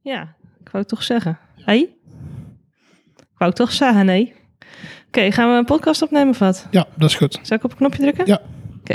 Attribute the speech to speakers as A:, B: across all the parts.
A: Ja, ik wou het toch zeggen. Hé? Ik wou het toch zeggen, nee. Oké, gaan we een podcast opnemen of wat?
B: Ja, dat is goed.
A: Zal ik op een knopje drukken?
B: Ja.
A: Oké.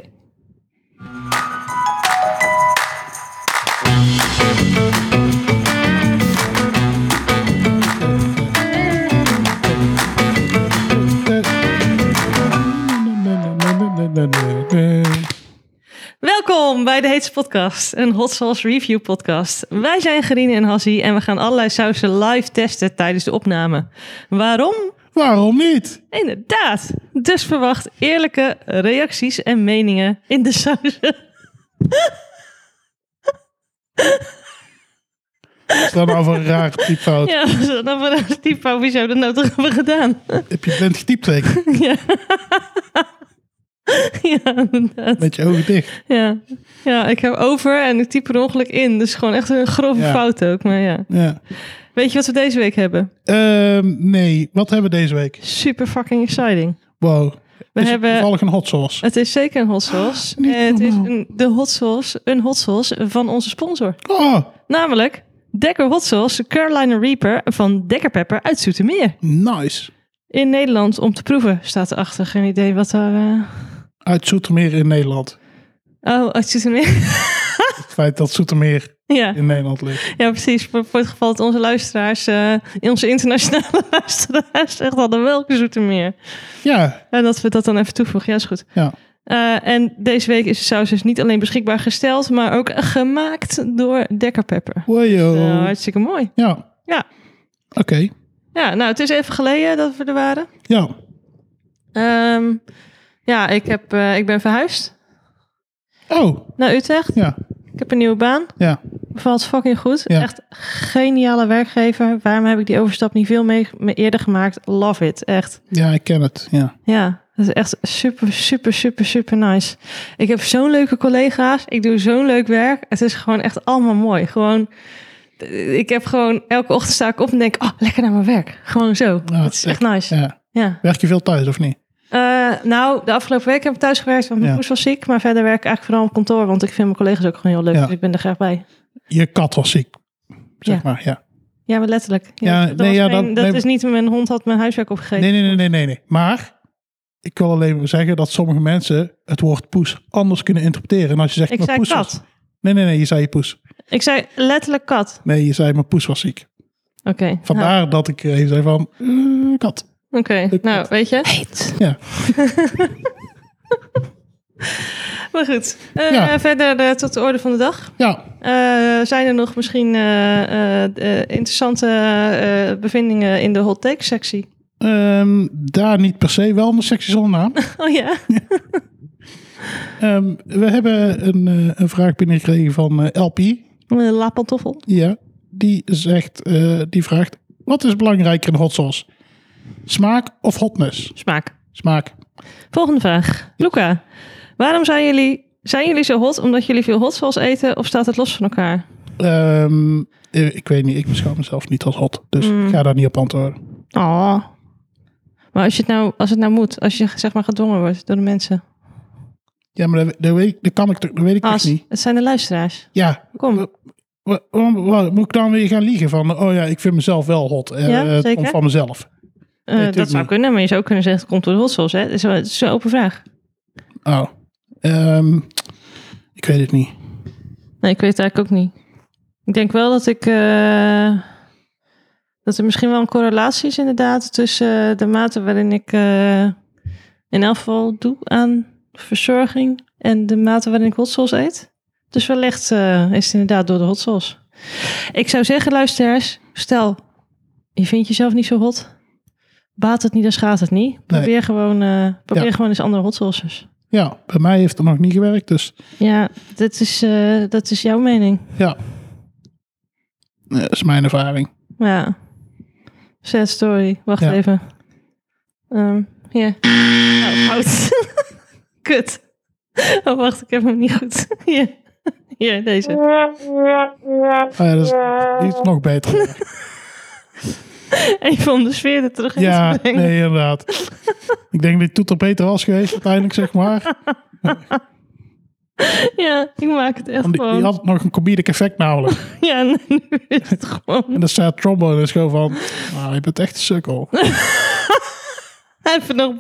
A: Welkom bij de Heetse Podcast, een hot sauce review podcast. Wij zijn Gerine en Hassie en we gaan allerlei sausen live testen tijdens de opname. Waarom?
B: Waarom niet?
A: Inderdaad. Dus verwacht eerlijke reacties en meningen in de sausen.
B: Wat is dat nou voor een raar typfout?
A: Ja, dat is dan voor een typo. Wie zou dat nou toch hebben gedaan?
B: Heb je blind getypt zeker?
A: Ja, inderdaad.
B: Met je ogen dicht.
A: Ja. ja, ik heb over en ik typ per ongeluk in. Dus gewoon echt een grove
B: Ja.
A: fout ook. Maar ja.
B: Ja.
A: Weet je wat we deze week hebben?
B: Ehm, nee, wat hebben we deze week?
A: Super fucking exciting.
B: Wow.
A: We
B: Is het
A: hebben-
B: toevallig een hot sauce.
A: Het is zeker een hot sauce.
B: Niet
A: Eh, het is
B: normaal.
A: een, de hot sauce, een hot sauce van onze sponsor.
B: Oh,
A: Namelijk Dekker Hot Sauce Carolina Reaper van Dekker Pepper uit Zoetermeer.
B: nice.
A: In Nederland om te proeven staat erachter. Geen idee wat daar... eh,
B: Uit Zoetermeer in Nederland.
A: Oh, uit Zoetermeer?
B: Het feit dat Zoetermeer
A: ja.
B: in Nederland ligt.
A: ja, precies. Voor, voor het geval dat onze luisteraars, eh, onze internationale luisteraars, echt hadden welke Zoetermeer.
B: Ja,
A: En Eh, dat we dat dan even toevoegen. Ja, is goed.
B: ja.
A: Eh, en deze week is de saus dus niet alleen beschikbaar gesteld, maar ook gemaakt door Dekker Pepper.
B: Wojo.
A: Nou, hartstikke mooi.
B: Ja.
A: Ja.
B: Oké.
A: Ja, nou, het is even geleden dat we er waren.
B: Ja.
A: Ehm, ja, ik, heb, eh, ik ben verhuisd
B: Oh,
A: naar Utrecht.
B: ja.
A: Ik heb een nieuwe baan.
B: Ja.
A: Bevalt fucking goed.
B: Ja.
A: Echt geniale werkgever. Waarom heb ik die overstap niet veel mee, me eerder gemaakt? Love it, echt.
B: Ja, ik ken het. Ja.
A: Ja, dat is echt super, super, super, super nice. Ik heb zo'n leuke collega's. Ik doe zo'n leuk werk. Het is gewoon echt allemaal mooi. Gewoon, eh, ik heb gewoon elke ochtend sta ik op en denk, oh, lekker naar mijn werk. Gewoon zo.
B: Ja,
A: het is echt nice.
B: ja.
A: ja.
B: Werk je veel thuis of niet?
A: Eh, nou, de afgelopen week heb ik thuis gewerkt, want mijn
B: Ja.
A: moes was ziek. Maar verder werk ik eigenlijk vooral op kantoor, want ik vind mijn collega's ook gewoon heel leuk.
B: Ja.
A: Dus ik ben er graag bij.
B: Je kat was ziek. Zeg
A: Ja.
B: maar, ja.
A: Ja, maar letterlijk.
B: Ja,
A: dat
B: nee,
A: was
B: ja,
A: geen-
B: dat-
A: dat
B: nee.
A: is niet, mijn hond had mijn huiswerk opgegeven.
B: Nee, nee, nee, nee, nee, nee. Maar ik wil alleen maar zeggen dat sommige mensen het woord poes anders kunnen interpreteren. En als je zegt,
A: ik
B: maar
A: zei
B: poes was-
A: kat.
B: Nee, nee, nee, je zei je poes.
A: Ik zei letterlijk kat.
B: Nee, je zei mijn poes was ziek.
A: Oké. Nou,
B: Vandaar dat ik even zei van, eh, kat.
A: Oké,
B: kat.
A: nou, weet je. Heet.
B: Ja.
A: Maar goed, Eh,
B: Ja.
A: verder eh, tot de orde van de dag.
B: Ja,
A: Eh, zijn er nog misschien eh, eh, eh, interessante eh, bevindingen in de hot take sectie?
B: ehm, daar niet per se. Wel een sectie zonder naam.
A: Oh ja?
B: Ehm, we hebben een, eh, een vraag binnengekregen van eh, LP.
A: Eh, La pantoffel.
B: Ja, die zegt, eh, die vraagt, wat is belangrijker in hot sauce? Smaak of hotness?
A: Smaak.
B: Smaak.
A: Volgende vraag. Luca, waarom zijn jullie, zijn jullie zo hot omdat jullie veel hot sauce eten of staat het los van elkaar?
B: Ehm, eh, ik weet niet, ik beschouw mezelf niet als hot, dus
A: Mm.
B: ik ga daar niet op antwoorden. Ah.
A: Oh. Maar als, je het nou, als het nou moet, als je zeg maar gedwongen wordt door de mensen.
B: Ja, maar dat, dat weet, ik- dat kan ik toch, dat weet ik toch
A: Als,
B: niet.
A: het zijn de luisteraars.
B: Ja,
A: Kom.
B: wa- waarom- waarom- moet ik dan weer gaan liegen van, oh ja, ik vind mezelf wel hot. Eh,
A: Ja,
B: het
A: zeker.
B: komt van mezelf.
A: Eh,
B: tuurlijk
A: dat zou
B: niet.
A: kunnen, maar je zou ook kunnen zeggen het komt door de hot sauce. Hè? Het, is, wel- het is een open vraag.
B: Oh, Ehm, ik weet het niet.
A: Nee, ik weet het eigenlijk ook niet. Ik denk wel dat ik... eh, dat er misschien wel een correlatie is inderdaad tussen eh, de mate waarin ik eh, in elk geval doe aan verzorging en de mate waarin ik hot sauce eet. Dus wellicht eh, is het inderdaad door de hot sauce. Ik zou zeggen, luisteraars, stel je vindt jezelf niet zo hot. Baat het niet, dan schaadt het niet. Probeer, gewoon, eh, probeer
B: Ja.
A: gewoon eens andere hot sauces.
B: Ja, bij mij heeft het nog niet gewerkt, dus
A: Ja, dat is, eh, dat is jouw mening.
B: ja. Eh, Dat is mijn ervaring.
A: Ja. Sad story. Wacht
B: Ja.
A: even. Ehm, Hier. Oh, fout. Kut. Oh, wacht. Ik heb hem niet goed. Hier. Hier, deze.
B: Ah, ja, dat is, die is nog beter.
A: Even om de sfeer er terug in
B: Ja,
A: te brengen.
B: nee, inderdaad. ik denk dat die toeter beter was geweest uiteindelijk, zeg maar.
A: Ja, ik maak het echt
B: Want die,
A: gewoon.
B: die had nog een comedic effect namelijk.
A: Ja, nu is het gewoon.
B: En dan staat Trombone is gewoon van, nou, je bent echt een sukkel.
A: Even nog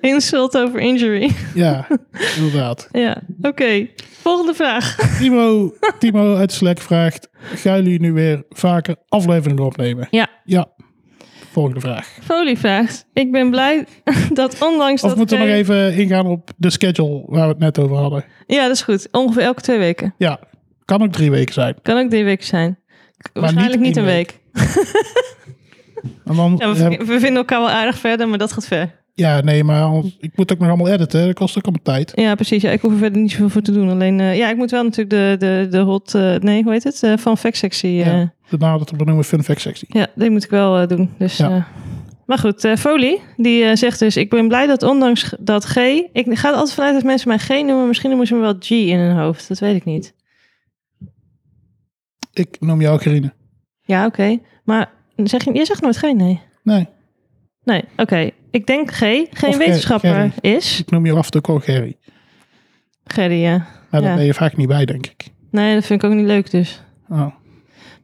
A: insult over injury.
B: Ja, inderdaad.
A: Ja, oké. Volgende vraag.
B: Timo, Timo uit Slack vraagt, gaan jullie nu weer vaker afleveringen opnemen?
A: Ja.
B: Ja. Volgende vraag.
A: Folie vraagt. Ik ben blij dat ondanks
B: Of
A: dat...
B: moeten we nog
A: geen-
B: even ingaan op de schedule waar we het net over hadden?
A: Ja, dat is goed. Ongeveer elke twee weken.
B: Ja, kan ook drie weken zijn.
A: Kan ook drie weken zijn. K-
B: niet
A: Waarschijnlijk niet
B: één
A: een week.
B: En dan,
A: Ja, we,
B: heb- ja,
A: we vinden elkaar wel aardig verder, maar dat gaat ver.
B: nee, maar ons- ik moet ook nog allemaal editen. Dat kost ook allemaal tijd.
A: Ja, precies. Ja, ik hoef er verder niet zoveel voor te doen. Alleen, eh, ja, ik moet wel natuurlijk de, de, de hot... eh, nee, hoe heet het? Eh, van fact sectie. eh,
B: Ja. Daarna dat we benoemen fun fact sectie.
A: Ja, die moet ik wel eh, doen. Dus,
B: Ja.
A: eh, maar goed, eh Folie, die eh, zegt dus... Ik ben blij dat ondanks g- dat G... Ik ga er altijd vanuit dat mensen mij G noemen. Misschien noemen ze me wel G in hun hoofd. Dat weet ik niet.
B: Ik noem jou Gerine.
A: Ja, oké. Maar zeg je, je zegt nooit G, nee.
B: Nee,
A: Nee, oké. Ik denk G geen
B: Of Ger-
A: wetenschapper
B: Gerry.
A: is.
B: ik noem je af en toe ook Gerry.
A: Gerry, ja.
B: Maar daar
A: Ja.
B: ben je vaak niet bij, denk ik.
A: Nee, dat vind ik ook niet leuk dus.
B: Oh.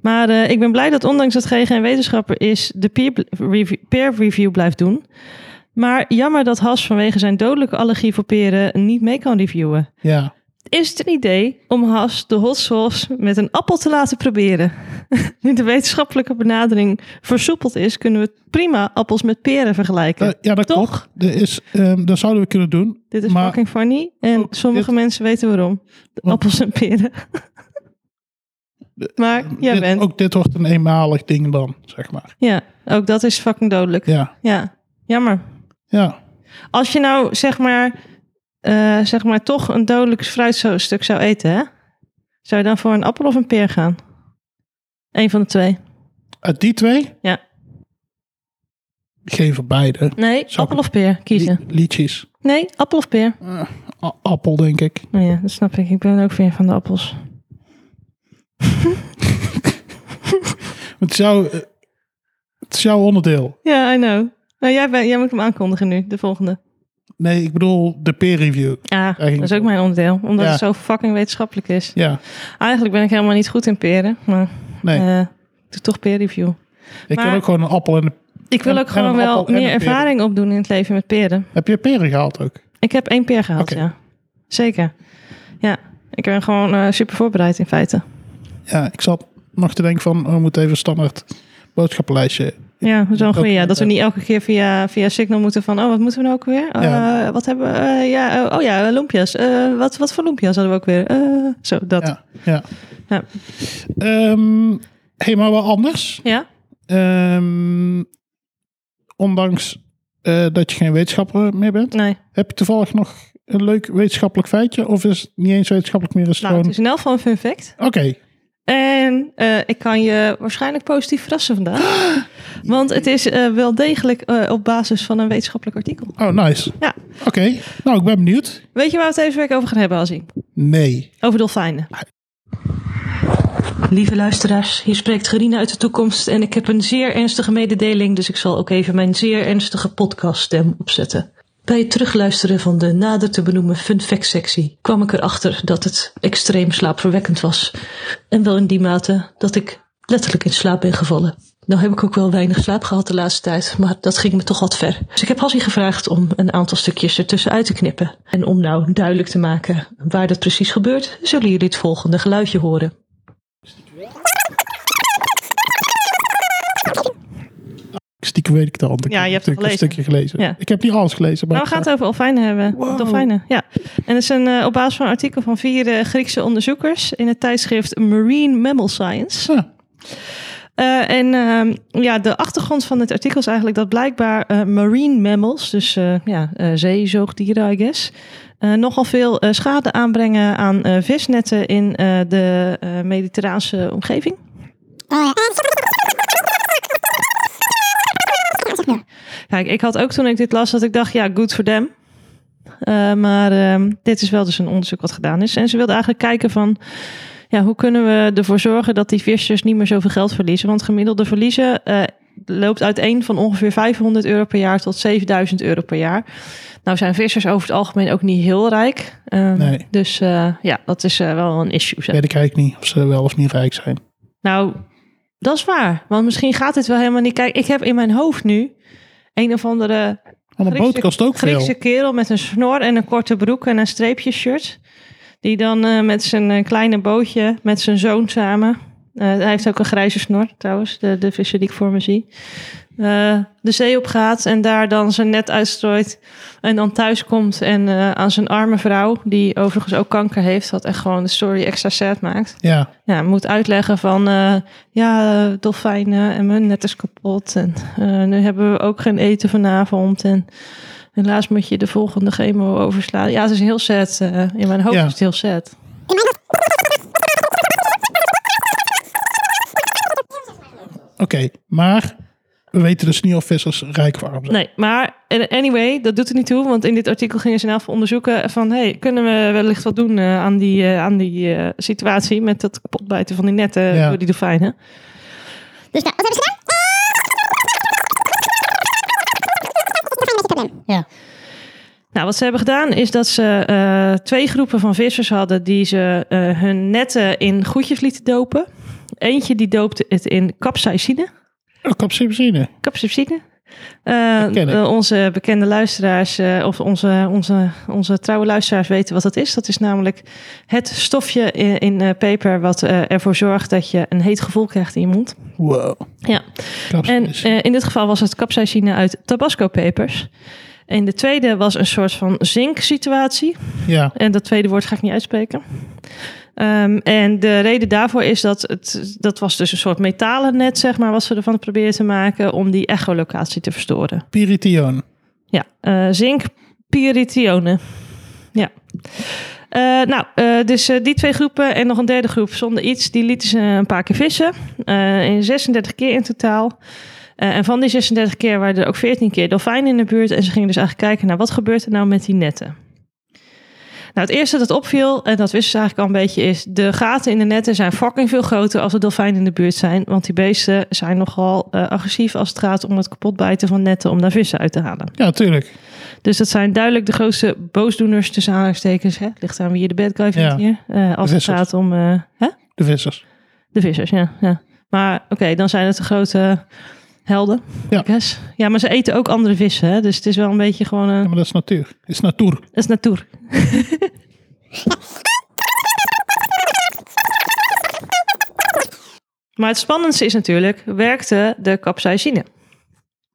A: Maar eh, ik ben blij dat ondanks dat G geen wetenschapper is... de peer bl- review, peer review blijft doen. Maar jammer dat Has vanwege zijn dodelijke allergie voor peren... niet mee kan reviewen.
B: Ja,
A: Is het een idee om Has de hot sauce met een appel te laten proberen? nu de wetenschappelijke benadering versoepeld is, kunnen we prima appels met peren vergelijken.
B: Eh, ja dat
A: Toch?
B: klopt. Er is, ehm, dat zouden we kunnen doen.
A: dit is
B: maar-
A: fucking funny en
B: Ook
A: sommige
B: dit-
A: mensen weten waarom. De
B: Want-
A: appels en peren. maar jij
B: eh, Dit-
A: bent.
B: Ook dit wordt een eenmalig ding dan, zeg maar.
A: Ja, ook dat is fucking dodelijk. Ja.
B: Ja,
A: jammer.
B: ja.
A: Als je nou zeg maar, eh, zeg maar toch een dodelijk fruitstuk zou eten, hè? zou je dan voor een appel of een peer gaan? Eén van de twee.
B: Uit die twee?
A: Ja.
B: Geen van beide.
A: Nee,
B: Zou
A: appel
B: ik-
A: of peer kiezen.
B: Li- liedjes.
A: Nee, appel of peer.
B: Eh, a- appel, denk ik.
A: Oh ja, dat snap ik. Ik ben ook weer van de appels.
B: Het zou... eh, Het is jouw onderdeel.
A: Ja, I know. Nou, jij, bent- jij moet hem aankondigen nu, de volgende.
B: Nee, ik bedoel de peer review.
A: Ja,
B: ging
A: dat is
B: het
A: ook mijn onderdeel. Omdat
B: Ja.
A: het zo fucking wetenschappelijk is.
B: Ja,
A: Eigenlijk ben ik helemaal niet goed in peren. Maar
B: nee.
A: eh, ik doe toch peer review.
B: ik
A: maar-
B: wil ook gewoon een appel en een...
A: Ik wil
B: En-
A: ook
B: en
A: gewoon
B: een
A: wel
B: appel en
A: meer
B: een peer.
A: ervaring opdoen in het leven met peren.
B: Heb je peren gehaald ook?
A: Ik heb één peer gehaald,
B: Oké.
A: ja. Zeker. Ja, ik ben gewoon eh, super voorbereid in feite.
B: Ja, ik zat nog te denken van... We moeten even standaard boodschappenlijstje...
A: Ja, zo'n goede. Ja,
B: dat-
A: dat we niet elke keer via, via Signal moeten van... oh, wat moeten we nou ook weer? Eh,
B: Ja.
A: wat hebben we? eh, ja, eh, oh ja, eh, loempjes. Eh, wat, wat voor loempjes hadden we ook weer? Eh, zo, dat. Ja?
B: Ja, ja.
A: Ja.
B: Ehm, hey, maar wel anders. Ehm, ondanks eh, dat je geen wetenschapper meer bent...
A: Nee. Nou,
B: Heb je toevallig nog een leuk wetenschappelijk feitje? Of is het niet eens wetenschappelijk meer? Is het
A: Nou, het
B: gewoon...
A: is in elk geval een fun fact.
B: Oké,
A: En eh, ik kan je waarschijnlijk positief verrassen vandaag. Want het is eh, wel degelijk eh, op basis van een wetenschappelijk artikel.
B: oh nice.
A: Ja.
B: Oké, nou ik ben benieuwd.
A: Weet je waar we het deze week over gaan hebben, Azzie?
B: Nee.
A: Over dolfijnen. Lieve luisteraars, hier spreekt Gerine uit de toekomst en ik heb een zeer ernstige mededeling, dus ik zal ook even mijn zeer ernstige podcaststem opzetten. Bij het terugluisteren van de nader te benoemen fun fact sectie kwam ik erachter dat het extreem slaapverwekkend was. En wel in die mate dat ik letterlijk in slaap ben gevallen. Nou heb ik ook wel weinig slaap gehad de laatste tijd, maar dat ging me toch wat ver. Dus ik heb Hassie gevraagd om een aantal stukjes ertussen uit te knippen. En om nou duidelijk te maken waar dat precies gebeurt, zullen jullie het volgende geluidje horen.
B: Stiekem weet ik het al. want Ik
A: Ja, je
B: heb
A: hebt het
B: natuurlijk een stukje gelezen.
A: Ja.
B: Ik eh, heb niet alles gelezen. Maar
A: Nou, we gaan het over dolfijnen hebben.
B: Wow.
A: Dolfijnen, ja. En dat is een, eh, op basis van een artikel van vier eh, Griekse onderzoekers in het tijdschrift Marine Mammal Science.
B: Ja.
A: Eh, en ehm, ja, de achtergrond van dit artikel is eigenlijk dat blijkbaar eh, marine mammals, dus eh, ja, eh, zeezoogdieren, I guess, eh, nogal veel eh, schade aanbrengen aan eh, visnetten in eh, de eh, mediterraanse omgeving. Kijk, ik had ook toen ik dit las dat ik dacht, ja, good for them. Eh, maar ehm, dit is wel dus een onderzoek wat gedaan is. En ze wilden eigenlijk kijken van, dus ja, hoe kunnen we ervoor zorgen dat die vissers niet meer zoveel geld verliezen? Want gemiddelde verliezen eh, loopt uiteen van ongeveer 500 euro per jaar tot 7000 euro per jaar. Nou zijn vissers over het algemeen ook niet heel rijk. Eh,
B: Nee.
A: Dus eh, ja, dat is eh, wel een issue. zeg.
B: Weet ik eigenlijk niet of ze wel of niet rijk zijn.
A: Nou, dat is waar. Want misschien gaat dit wel helemaal niet. Kijk, ik heb in mijn hoofd nu een of andere
B: Want een
A: Griekse-
B: boot kost ook
A: Griekse
B: veel.
A: kerel met een snor en een korte broek en een streepjeshirt. Die dan eh, met zijn eh, kleine bootje, met zijn zoon samen. eh, hij heeft ook een grijze snor trouwens, de, de visser die ik voor me zie. eh, de zee op gaat en daar dan zijn net uitstrooit. En dan thuis komt en eh, aan zijn arme vrouw, die overigens ook kanker heeft, wat echt gewoon de story extra sad maakt
B: Ja,
A: ja, moet uitleggen van eh, ja, eh, dolfijnen en mijn net is kapot. En eh, nu hebben we ook geen eten vanavond. En helaas moet je de volgende chemo overslaan. Ja, het is heel sad. eh, in mijn hoofd
B: Ja.
A: is het heel sad.
B: oké. Maar we weten dus niet of vissers rijk of arm zijn.
A: Nee, maar eh, anyway, dat doet er niet toe. Want in dit artikel gingen ze in elk geval onderzoeken van... Hey, kunnen we wellicht wat doen eh, aan die, eh, aan die eh, situatie... met dat kapotbijten van die netten
B: Ja.
A: door die dolfijnen.
C: Dus nou, wat hebben ze gedaan? Dat is een beetje het probleem.
A: Nou, wat ze hebben gedaan is dat ze eh, twee groepen van vissers hadden die ze eh, hun netten in goedjes lieten dopen. Eentje die doopte het in capsaicine.
B: Oh, kapsibenzine.
A: Capsaicine. Eh,
B: Dat ken ik.
A: eh, onze bekende luisteraars, eh, of onze, onze, onze trouwe luisteraars weten wat dat is. Dat is namelijk het stofje in, in eh, peper wat eh, ervoor zorgt dat je een heet gevoel krijgt in je mond.
B: Wow.
A: Ja. En
B: Kapsibenzine.
A: eh, in dit geval was het capsaicine uit tabasco-pepers. En de tweede was een soort van zinksituatie.
B: ja.
A: En dat tweede woord ga ik niet uitspreken. Ehm, en de reden daarvoor is dat het, dat was dus een soort metalen net, zeg maar, wat ze ervan proberen te maken om die echolocatie te verstoren.
B: Pirition.
A: Ja, eh, zink, pyritionen. Ja. Eh, nou, eh, dus eh, die twee groepen en nog een derde groep zonder iets, die lieten ze een paar keer vissen. Eh, in 36 keer in totaal. Eh, en van die 36 keer waren er ook 14 keer dolfijnen in de buurt. En ze gingen dus eigenlijk kijken naar wat gebeurt er nou met die netten. Nou, het eerste dat opviel, en dat wisten ze eigenlijk al een beetje, is de gaten in de netten zijn fucking veel groter als de dolfijnen in de buurt zijn. Want die beesten zijn nogal eh, agressief als het gaat om het kapotbijten van netten om daar vissen uit te halen.
B: Ja, tuurlijk.
A: Dus dat zijn duidelijk de grootste boosdoeners tussen aanhalingstekens. Hè? Ligt aan wie je de bad guy vindt
B: Ja.
A: hier. Eh, als het
B: vissers.
A: gaat om eh, hè?
B: De vissers.
A: de vissers, ja. ja. Maar oké, dan zijn het de grote helden,
B: Ja.
A: ja. Ja, maar ze eten ook andere vissen, hè? dus het is wel een beetje gewoon... eh
B: Ja, maar dat is natuur. Het is natuur.
A: het is natuur. maar het spannendste is natuurlijk, werkte de capsaicine?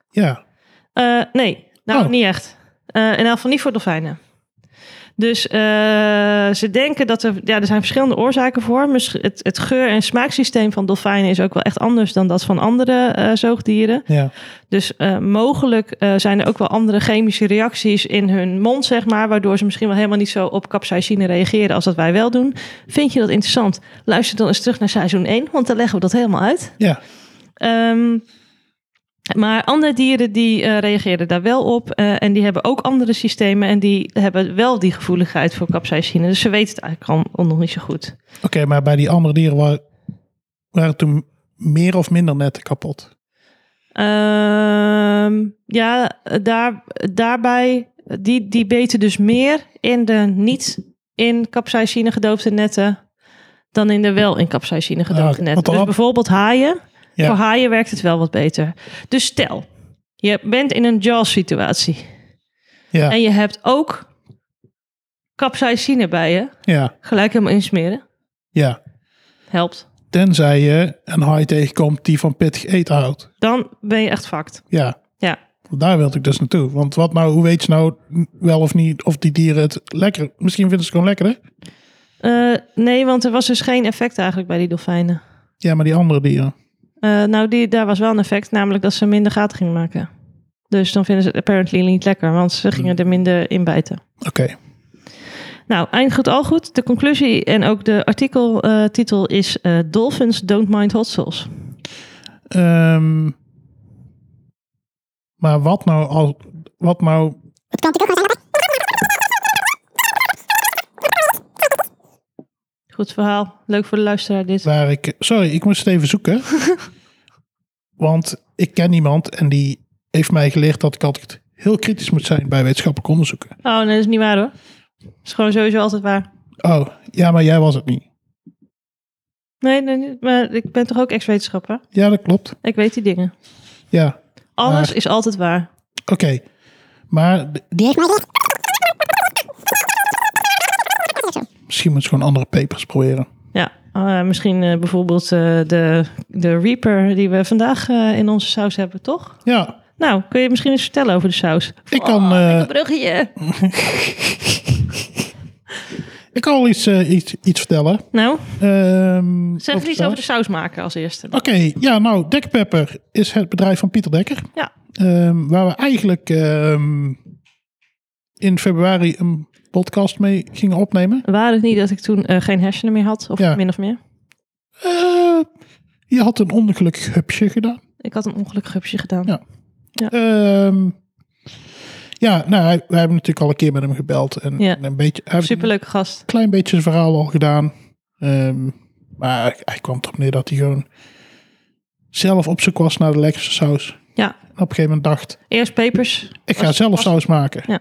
B: Ja.
A: Eh, nee, nou
B: Oh.
A: niet echt. Eh in elk geval niet voor dolfijnen. Dus eh, ze denken dat er, ja, er zijn verschillende oorzaken voor. Miss- Het, het geur- en smaaksysteem van dolfijnen is ook wel echt anders dan dat van andere eh, zoogdieren.
B: Ja.
A: Dus eh, mogelijk eh, zijn er ook wel andere chemische reacties in hun mond, zeg maar. Waardoor ze misschien wel helemaal niet zo op capsaicine reageren als dat wij wel doen. Vind je dat interessant? Luister dan eens terug naar seizoen 1, want dan leggen we dat helemaal uit.
B: Ja.
A: Ehm, maar andere dieren die eh, reageerden daar wel op. eh, en die hebben ook andere systemen. En die hebben wel die gevoeligheid voor capsaicine. Dus ze weten het eigenlijk al, al nog niet zo goed.
B: Oké, maar bij die andere dieren wa- waren toen meer of minder netten kapot.
A: Ehm, ja, daar, daarbij. Die, die beten dus meer in de niet in capsaicine gedoopte netten. dan in de wel in capsaicine
B: Ah,
A: gedoopte
B: oké.
A: netten.
B: Want dan-
A: Dus bijvoorbeeld haaien.
B: Ja.
A: Voor haaien werkt het wel wat beter. Dus stel, je bent in een jaws-situatie.
B: Ja.
A: En je hebt ook capsaicine bij je.
B: Ja.
A: Gelijk helemaal insmeren.
B: Ja.
A: Helpt.
B: Tenzij je een haai tegenkomt die van pittig eten houdt.
A: Dan ben je echt fucked.
B: Ja.
A: Ja.
B: Daar wilde ik dus naartoe. Want wat nou, hoe weet je nou wel of niet of die dieren het lekker... Misschien vinden ze het gewoon lekkerder.
A: Eh, nee, want er was dus geen effect eigenlijk bij die dolfijnen.
B: Ja, maar die andere dieren.
A: Eh, nou, die, daar was wel een effect. Namelijk dat ze minder gaten gingen maken. Dus dan vinden ze het apparently niet lekker. Want ze gingen er minder in bijten.
B: Oké.
A: Nou, eind goed al goed. De conclusie en ook de artikeltitel is... eh, Dolphins don't mind hot sauce.
B: Ehm, maar wat nou als... Wat nou...
C: Het kan natuurlijk ook wel zijn dat wij-
A: Goed verhaal. Leuk voor de luisteraar dit.
B: Waar ik... Sorry, ik moest het even zoeken. Want ik ken iemand en die heeft mij geleerd dat ik altijd heel kritisch moet zijn bij wetenschappelijk onderzoeken.
A: Oh, nee, dat is niet waar hoor. Dat is gewoon sowieso altijd waar.
B: Oh, ja, maar jij was het niet.
A: Nee, nee, nee, maar ik ben toch ook ex-wetenschapper?
B: Ja, dat klopt.
A: Ik weet die dingen.
B: Ja,
A: Alles
B: Maar-
A: is altijd waar.
B: oké. Maar d-
C: Die heeft mij geleerd.
B: misschien moeten ze gewoon andere papers proberen.
A: Ja, eh, misschien eh, bijvoorbeeld eh, de, de Reaper die we vandaag eh, in onze saus hebben, toch?
B: Ja,
A: Nou, kun je misschien iets vertellen over de saus?
B: ik
A: Ah,
B: kan, eh,
A: Bruggetje.
B: ik kan wel iets, eh, iets, iets vertellen.
A: Nou,
B: Ehm,
A: zeg
B: over
A: iets
B: de
A: over de
B: saus.
A: saus maken als eerste.
B: Oké, ja, nou, Dekpepper is het bedrijf van Pieter Dekker.
A: Ja.
B: Ehm, waar we eigenlijk ehm, in februari een podcast mee gingen opnemen.
A: Waar het niet dat ik toen eh, geen hersenen meer had, of
B: Ja.
A: min of meer.
B: Eh, je had een ongelukkig hupsje gedaan.
A: Ik had een ongelukkig hupsje gedaan.
B: Ja. Ehm, ja, nou, hij- we hebben natuurlijk al een keer met hem gebeld. En,
A: Ja.
B: en een beetje, hij heeft een
A: Superleuke gast.
B: klein beetje zijn verhaal al gedaan. Ehm, maar hij, hij kwam erop neer dat hij gewoon zelf op zoek was naar de lekkerste saus.
A: Ja,
B: En op een gegeven moment dacht,
A: eerst pepers.
B: ik ga
A: Was-
B: zelf
A: was-
B: saus maken.
A: Ja.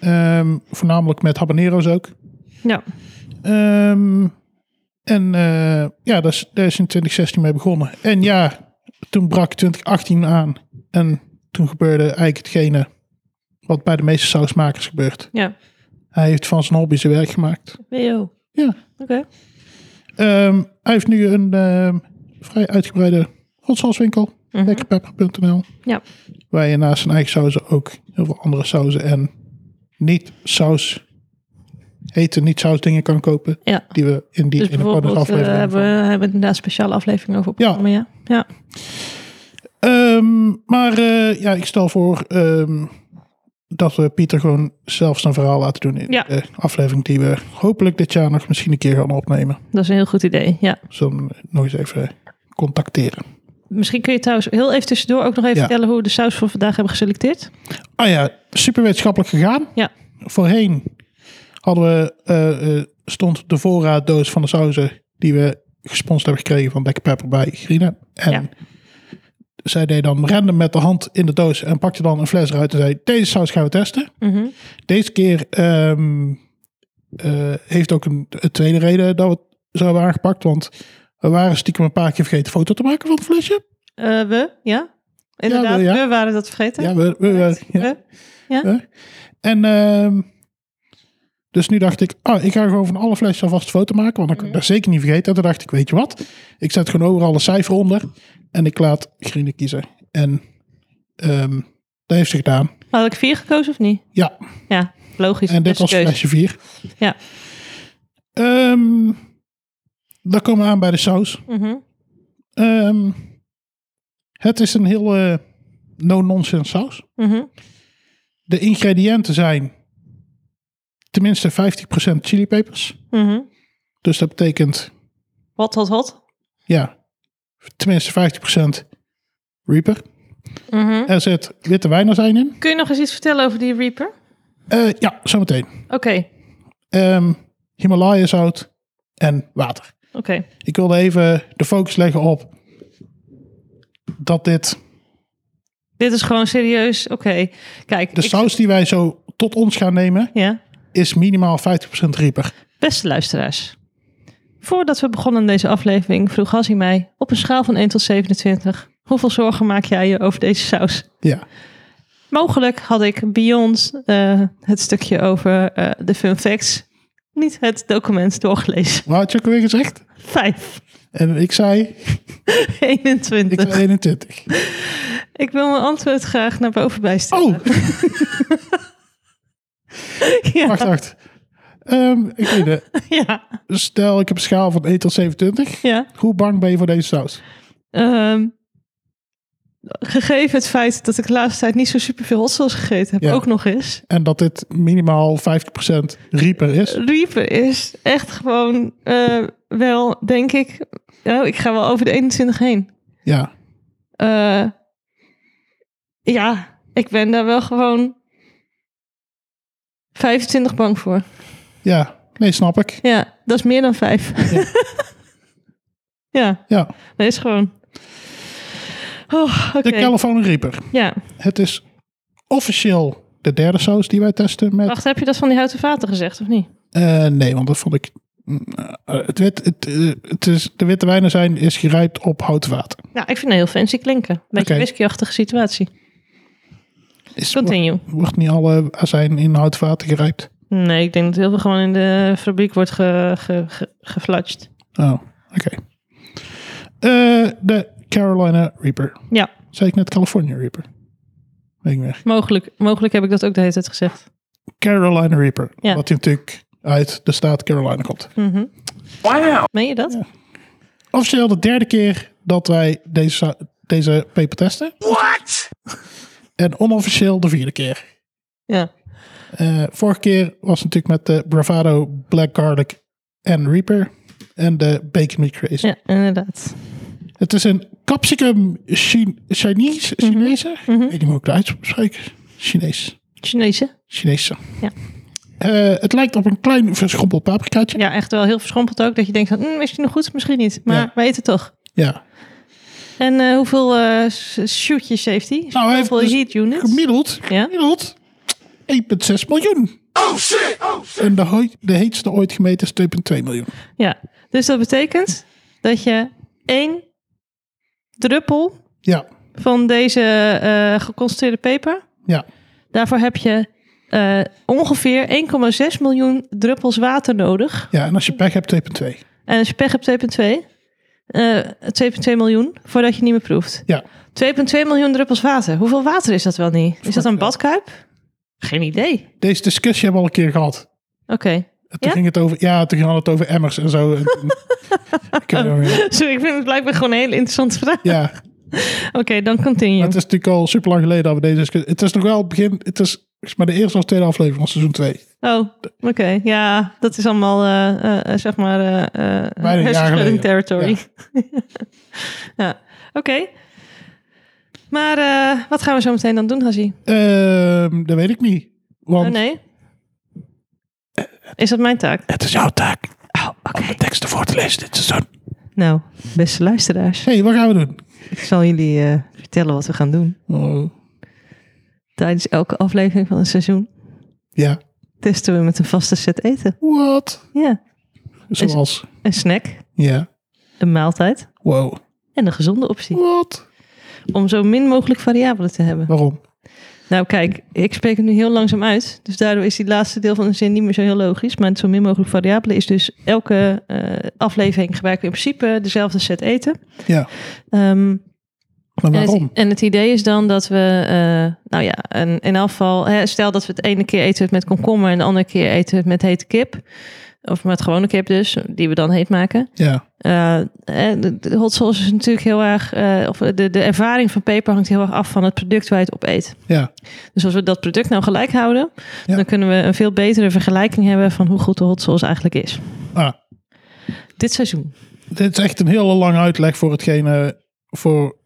B: Ehm, voornamelijk met habanero's ook.
A: Ja,
B: Ehm, en eh, ja, daar is, daar is in 2016 mee begonnen. En ja, toen brak 2018 aan. En toen gebeurde eigenlijk hetgene wat bij de meeste sausmakers gebeurt.
A: ja.
B: Hij heeft van zijn hobby zijn werk gemaakt.
A: Yo.
B: Ja.
A: Oké.
B: Ehm, hij heeft nu een ehm, vrij uitgebreide hotsauswinkel.
A: Mhm.
B: Lekkerpepper.nl
A: Ja.
B: Waar je naast zijn eigen sauzen ook heel veel andere sauzen en niet saus hete, niet saus dingen kan kopen.
A: Ja.
B: Die we in die
A: Dus
B: in een andere
A: bijvoorbeeld eh,
B: aflevering
A: hebben we hebben we inderdaad een speciale aflevering over
B: Ja.
A: opgenomen, ja. Ja.
B: Ehm, maar eh, ja, ik stel voor ehm, dat we Pieter gewoon zelf zijn verhaal laten doen in
A: Ja.
B: de aflevering die we hopelijk dit jaar nog misschien een keer gaan opnemen.
A: dat is een heel goed idee, ja.
B: Zullen we hem nog eens even contacteren.
A: Misschien kun je trouwens heel even tussendoor ook nog even
B: Ja.
A: vertellen hoe we de saus voor vandaag hebben geselecteerd.
B: Ah ja, super wetenschappelijk gegaan.
A: Ja.
B: Voorheen hadden we, eh, eh, stond de voorraaddoos van de sauzen die we gesponsord hebben gekregen van Black Pepper bij Grina. En
A: Ja.
B: zij deed dan random met de hand in de doos en pakte dan een fles eruit en zei deze saus gaan we testen.
A: Mhm.
B: Deze keer ehm, eh, heeft ook een, een tweede reden dat we het zo hebben aangepakt. Want we waren stiekem een paar keer vergeten een foto te maken van het flesje.
A: Eh, we, ja. Inderdaad,
B: we, ja.
A: we waren dat vergeten.
B: Ja, we, we, we- ja.
A: We.
B: En ehm, dus nu dacht ik, ah, ik ga gewoon van alle flesjes alvast een foto maken. Want dan kan ik dat zeker niet vergeten. En toen dacht ik, weet je wat? Ik zet gewoon overal een cijfer onder. En ik laat Grine kiezen. En ehm, dat heeft ze gedaan.
A: Had ik vier gekozen of niet?
B: Ja,
A: Ja, logisch.
B: En dit
A: beste
B: was
A: keuze.
B: flesje 4.
A: Ja.
B: Ehm, dan komen we aan bij de saus.
A: Mhm.
B: Ehm, het is een heel eh, no-nonsense saus.
A: Mhm.
B: De ingrediënten zijn tenminste 50% chilipepers.
A: Mhm.
B: Dus dat betekent,
A: Wat, wat, wat?
B: ja, tenminste 50% reaper.
A: Mhm.
B: Er zit witte wijnazijn in.
A: Kun je nog eens iets vertellen over die Reaper?
B: Eh, ja, zometeen.
A: Oké,
B: Ehm Himalaya zout en water.
A: oké.
B: Ik wilde even de focus leggen op dat dit
A: Dit is gewoon serieus. Oké, kijk.
B: de
A: ik-
B: saus die wij zo tot ons gaan nemen
A: Ja,
B: is minimaal 50% rieper.
A: beste luisteraars. Voordat we begonnen aan deze aflevering vroeg Hassie mij op een schaal van 1 tot 27... hoeveel zorgen maak jij je over deze saus?
B: Ja,
A: Mogelijk had ik beyond eh, het stukje over eh, de fun facts niet het document doorgelezen.
B: wat had je ook alweer gezegd?
A: 5,
B: En ik zei, ik
A: 21.
B: zei
A: Ik,
B: 21.
A: wil mijn antwoord graag naar boven bijstellen.
B: Oh,
A: ja,
B: wacht, wacht. Ehm, ik weet het.
A: ja,
B: Stel, ik heb een schaal van 1 tot 27.
A: ja.
B: Hoe bang ben je voor deze saus?
A: Ehm, gegeven het feit dat ik de laatste tijd niet zo superveel hot sauce gegeten heb,
B: Ja.
A: ook nog eens.
B: En dat dit minimaal 50% rieper is.
A: Reaper is echt gewoon eh, wel, denk ik... Nou, ik ga wel over de 21 heen.
B: Ja,
A: Eh, ja, ik ben daar wel gewoon 25 bang voor.
B: ja. Nee, snap ik.
A: Ja, dat is meer dan vijf. Ja,
B: Ja,
A: dat is gewoon. Oh, oké.
B: De California Reaper.
A: Ja.
B: Het is officieel de derde saus die wij testen met...
A: Wacht, heb je dat van die houten vaten gezegd of niet?
B: Eh, nee, want dat vond ik... Mm, eh, het wit, het, eh, het is, de witte wijnen zijn is gerijpt op houten water.
A: Nou, ik vind het heel fancy klinken. Beetje
B: Oké.
A: whiskyachtige situatie.
B: Is, wordt,
A: Continue.
B: wordt niet alle azijn in houten water gerijpt?
A: Nee, ik denk dat heel veel gewoon in de fabriek wordt ge, ge, ge- geflatscht.
B: Oh, oké. Eh, de Carolina Reaper.
A: Ja,
B: Zei ik net California Reaper? Weet ik niet meer.
A: mogelijk. Mogelijk heb ik dat ook de hele tijd gezegd.
B: Carolina Reaper.
A: Ja.
B: Wat die natuurlijk uit de staat Carolina komt.
A: Mhm. Meen je dat?
B: Officieel de derde keer dat wij deze, sa- deze paper testen. What? En onofficieel de vierde keer.
A: Ja.
B: Eh, vorige keer was natuurlijk met de Bravado, Black Garlic en Reaper. En de Bacon Meat Crazy.
A: Ja, inderdaad.
B: Het is een capsicum Chi- Chinese.
A: Mhm.
B: Chinese? Ik weet niet hoe ik het uitspreek. Chinees.
A: Chinese.
B: Chinese.
A: Ja.
B: Eh, het lijkt op een klein verschrompeld paprikaatje.
A: Ja, echt wel heel verschrompeld ook. Dat je denkt, van, "Mm, is die nog goed? Misschien niet. Maar
B: Ja.
A: we eten toch.
B: Ja.
A: En eh, hoeveel eh, s- shootjes heeft hij?
B: Nou, hij heeft
A: hoeveel
B: dus
A: heat units?
B: Gemiddeld,
A: Ja.
B: gemiddeld 1,6 miljoen. Oh shit, En de, hoi- de heetste ooit gemeten is 2,2 miljoen.
A: Ja. Dus dat betekent dat je één druppel
B: Ja,
A: van deze eh geconcentreerde peper.
B: ja.
A: Daarvoor heb je eh, ongeveer 1,6 miljoen druppels water nodig.
B: ja, en als je pech hebt 2,2.
A: En als je pech hebt 2,2, eh 2,2 miljoen voordat je niet meer proeft.
B: Ja,
A: 2,2 miljoen druppels water. Hoeveel water is dat wel niet? Is dat een badkuip? Geen idee.
B: deze discussie hebben we al een keer gehad.
A: Oké.
B: En Toen
A: Ja?
B: ging het over, ja, toen ging het over emmers en zo. En, Ik weet het niet meer.
A: Sorry, ik vind het blijkbaar gewoon een hele interessante vraag.
B: ja,
A: Oké, dan continue.
B: Maar het is natuurlijk al super lang geleden dat we deze discussie... Het is nog wel het begin... Het is volgens mij de eerste of tweede aflevering van seizoen 2.
A: Oh, oké. Ja, dat is allemaal, eh, eh, eh, zeg maar, eh, eh,
B: Bijna een jaar
A: hersenschudding
B: geleden.
A: territory. Ja, oké. Maar eh, wat gaan we zo meteen dan doen, Hazi?
B: Ehm dat weet ik niet. Want
A: Oh nee? Is dat mijn taak?
B: het is jouw taak
A: Oh, oké.
B: teksten voor te lezen dit seizoen.
A: Nou, beste luisteraars,
B: hey, wat gaan we doen?
A: ik zal jullie eh, vertellen wat we gaan doen.
B: Oh,
A: Tijdens elke aflevering van het seizoen
B: ja.
A: testen we met een vaste set eten.
B: Wat?
A: Ja,
B: Zoals...
A: een snack,
B: Ja.
A: een maaltijd
B: Wow.
A: en een gezonde optie.
B: Wat?
A: Om zo min mogelijk variabelen te hebben.
B: Waarom?
A: Nou, kijk, ik spreek het nu heel langzaam uit. Dus daardoor is die laatste deel van de zin niet meer zo heel logisch. Maar het zo min mogelijk variabelen is dus elke eh, aflevering gebruiken we in principe dezelfde set eten.
B: Ja.
A: Ehm,
B: Maar
A: en, het,
B: waarom?
A: en het idee is dan dat we, eh, nou ja, een, in elk geval, hè, stel dat we het ene keer eten we het met komkommer en de andere keer eten we het met hete kip. Of met gewone kip dus, die we dan heet maken.
B: Ja.
A: Eh, eh, de de hot sauce is natuurlijk heel erg, eh, of de, de ervaring van peper hangt heel erg af van het product waar je het op eet.
B: Ja.
A: Dus als we dat product nou gelijk houden,
B: Ja.
A: dan kunnen we een veel betere vergelijking hebben van hoe goed de hot sauce eigenlijk is.
B: Ah,
A: Dit seizoen.
B: dit is echt een hele lange uitleg voor hetgene... Voor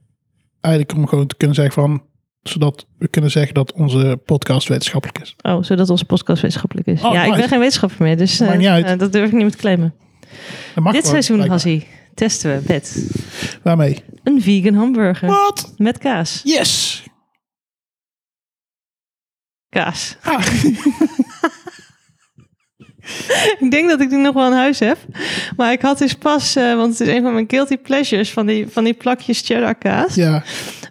B: eigenlijk om gewoon te kunnen zeggen van... Zodat we kunnen zeggen dat onze podcast wetenschappelijk is.
A: Oh, zodat onze podcast wetenschappelijk is.
B: Oh,
A: ja, ik
B: nice.
A: ben geen wetenschapper meer, dus
B: Maakt
A: eh,
B: niet uit.
A: eh, dat durf ik niet meer te claimen.
B: Dat mag
A: Dit
B: gewoon,
A: seizoen,
B: blijkbaar.
A: Hassie, testen we met
B: Waarmee?
A: een vegan hamburger
B: Wat?
A: met kaas.
B: Yes!
A: Kaas.
B: Ah,
A: Ik denk dat ik die nog wel in huis heb. Maar ik had dus pas, eh, want het is een van mijn guilty pleasures, van die, van die plakjes cheddar kaas.
B: ja.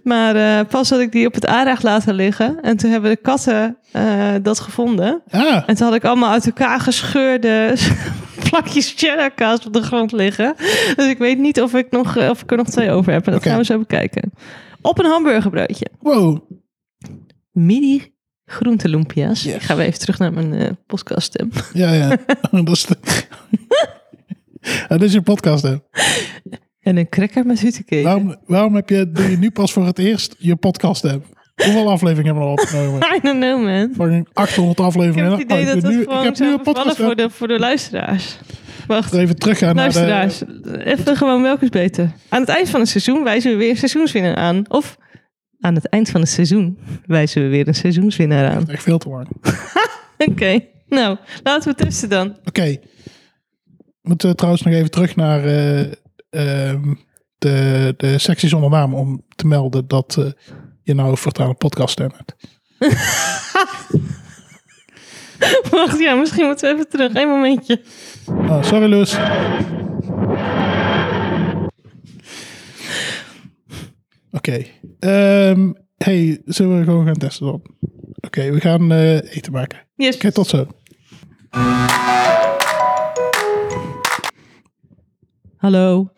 A: Maar eh, pas had ik die op het aanrecht laten liggen. En toen hebben de katten eh, dat gevonden.
B: Ah,
A: En toen had ik allemaal uit elkaar gescheurde plakjes cheddarkaas op de grond liggen. Dus ik weet niet of ik, nog, eh, of ik er nog twee over heb. En dat
B: Oké.
A: gaan we zo bekijken. Op een hamburgerbroodje.
B: wow.
A: Mini groenteloempia's.
B: Yes.
A: Ik ga weer even terug naar mijn eh podcast. eh.
B: Ja, ja. dat is de... Ja, dit is je podcast, hè?
A: En een cracker met huttenkeek.
B: Waarom, waarom heb je, doe je nu pas voor het eerst je podcast, hè? Hoeveel afleveringen hebben we al opgenomen?
A: I don't know, man.
B: Fucking
A: Ik
B: 800
A: heb
B: afleveringen.
A: het idee
B: Oh,
A: dat
B: ik, doe
A: dat
B: nu, ik
A: gewoon
B: heb nu
A: zou vervallen
B: een podcast.
A: voor
B: Voor
A: de, voor de luisteraars. Wacht,
B: Even teruggaan naar de...
A: luisteraars. Even gewoon welke is beter. Aan het eind van het seizoen wijzen we weer een seizoenswinnaar aan. Of aan het eind van het seizoen wijzen we weer een seizoenswinnaar aan.
B: Echt veel te lang. Oké.
A: Oké, nou, laten we testen dan.
B: Moeten we trouwens nog even terug naar eh, ehm, de, de sectie zonder naam om te melden dat eh, je nou voortaan een podcast hebt.
A: Wacht, ja, misschien moeten we even terug. Eén momentje.
B: Ah, sorry, Loes. Oké. Ehm, hey, zullen we gewoon gaan testen dan? Oké, we gaan eh, eten maken. Oké,
A: Yes.
B: tot zo.
A: Hallo. Oké.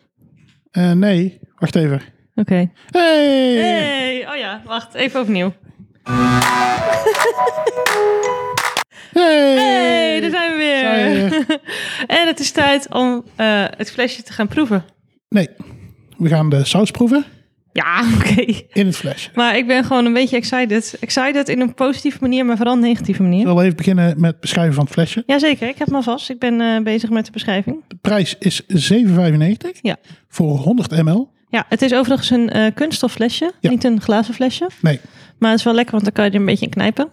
B: Eh, nee, wacht even. Hey!
A: Hey, oh ja, wacht, even opnieuw.
B: Hey!
A: Hey, daar zijn we
B: Zijn
A: weer. en het is tijd om eh, het flesje te gaan proeven.
B: Nee, we gaan de saus proeven
A: Ja, oké.
B: in het flesje.
A: Maar ik ben gewoon een beetje excited. Excited in een positieve manier, maar vooral een negatieve manier.
B: Ik wil even beginnen met het beschrijven van het flesje.
A: Jazeker, ik heb me vast. Ik ben eh, bezig met de beschrijving.
B: De prijs is 7,95
A: Ja.
B: voor 100 ml.
A: Ja, het is overigens een eh, kunststof flesje.
B: Ja.
A: Niet een glazen flesje.
B: Nee,
A: Maar het is wel lekker, want dan kan je er een beetje in knijpen.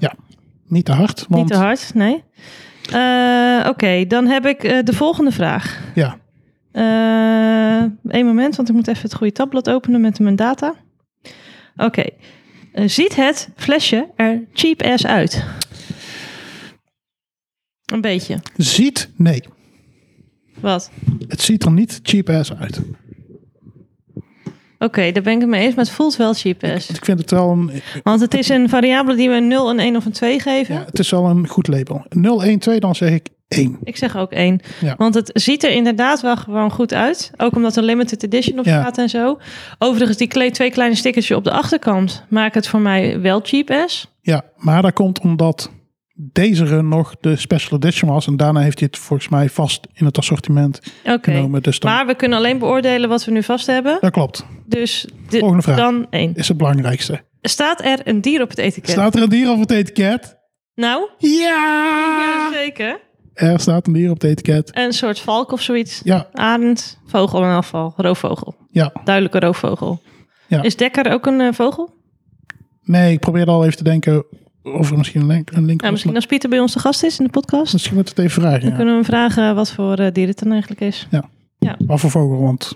B: niet te hard. Want,
A: Niet te hard, nee. Eh, Oké, dan heb ik eh, de volgende vraag.
B: Ja,
A: Eén moment, want ik moet even het goede tabblad openen met mijn data. Oké. Eh, ziet het flesje er cheap ass uit? Een beetje.
B: ziet, nee.
A: Wat?
B: Het ziet er niet cheap ass uit.
A: Oké, daar ben ik het mee eens, maar het voelt wel cheap ass.
B: Want ik vind het wel een,
A: Want het is een variabele die we een 0, een 1 of een 2 geven.
B: ja, het is wel een goed label. 012, dan zeg ik 1.
A: Ik zeg ook één.
B: Ja.
A: Want het ziet er inderdaad wel gewoon goed uit. Ook omdat er limited edition op
B: Ja.
A: staat en zo. Overigens, die kle- twee kleine stickertjes op de achterkant maken het voor mij wel cheap ass.
B: Ja, maar dat komt omdat deze run nog de special edition was. En daarna heeft hij het volgens mij vast in het assortiment
A: Oké.
B: genomen. Dus dan,
A: Maar we kunnen alleen beoordelen wat we nu vast hebben.
B: dat klopt.
A: Dus de-
B: Volgende vraag.
A: dan één.
B: Is het belangrijkste.
A: Staat er een dier op het etiket?
B: Staat er een dier op het etiket?
A: Nou,
B: Ja!
A: zeker.
B: Er staat een dier op het etiket.
A: Een soort valk of zoiets.
B: Ja,
A: Arend, vogel in elk geval. Roofvogel.
B: ja.
A: Duidelijke roofvogel.
B: Ja.
A: Is Dekker ook een eh, vogel?
B: Nee, ik probeerde al even te denken of er misschien een link, een link
A: Nou,
B: was.
A: misschien als Pieter bij ons te gast is in de podcast.
B: Misschien moeten we het even vragen.
A: Dan
B: Ja.
A: kunnen we hem vragen wat voor eh, dier het dan eigenlijk is.
B: Wat voor vogel, want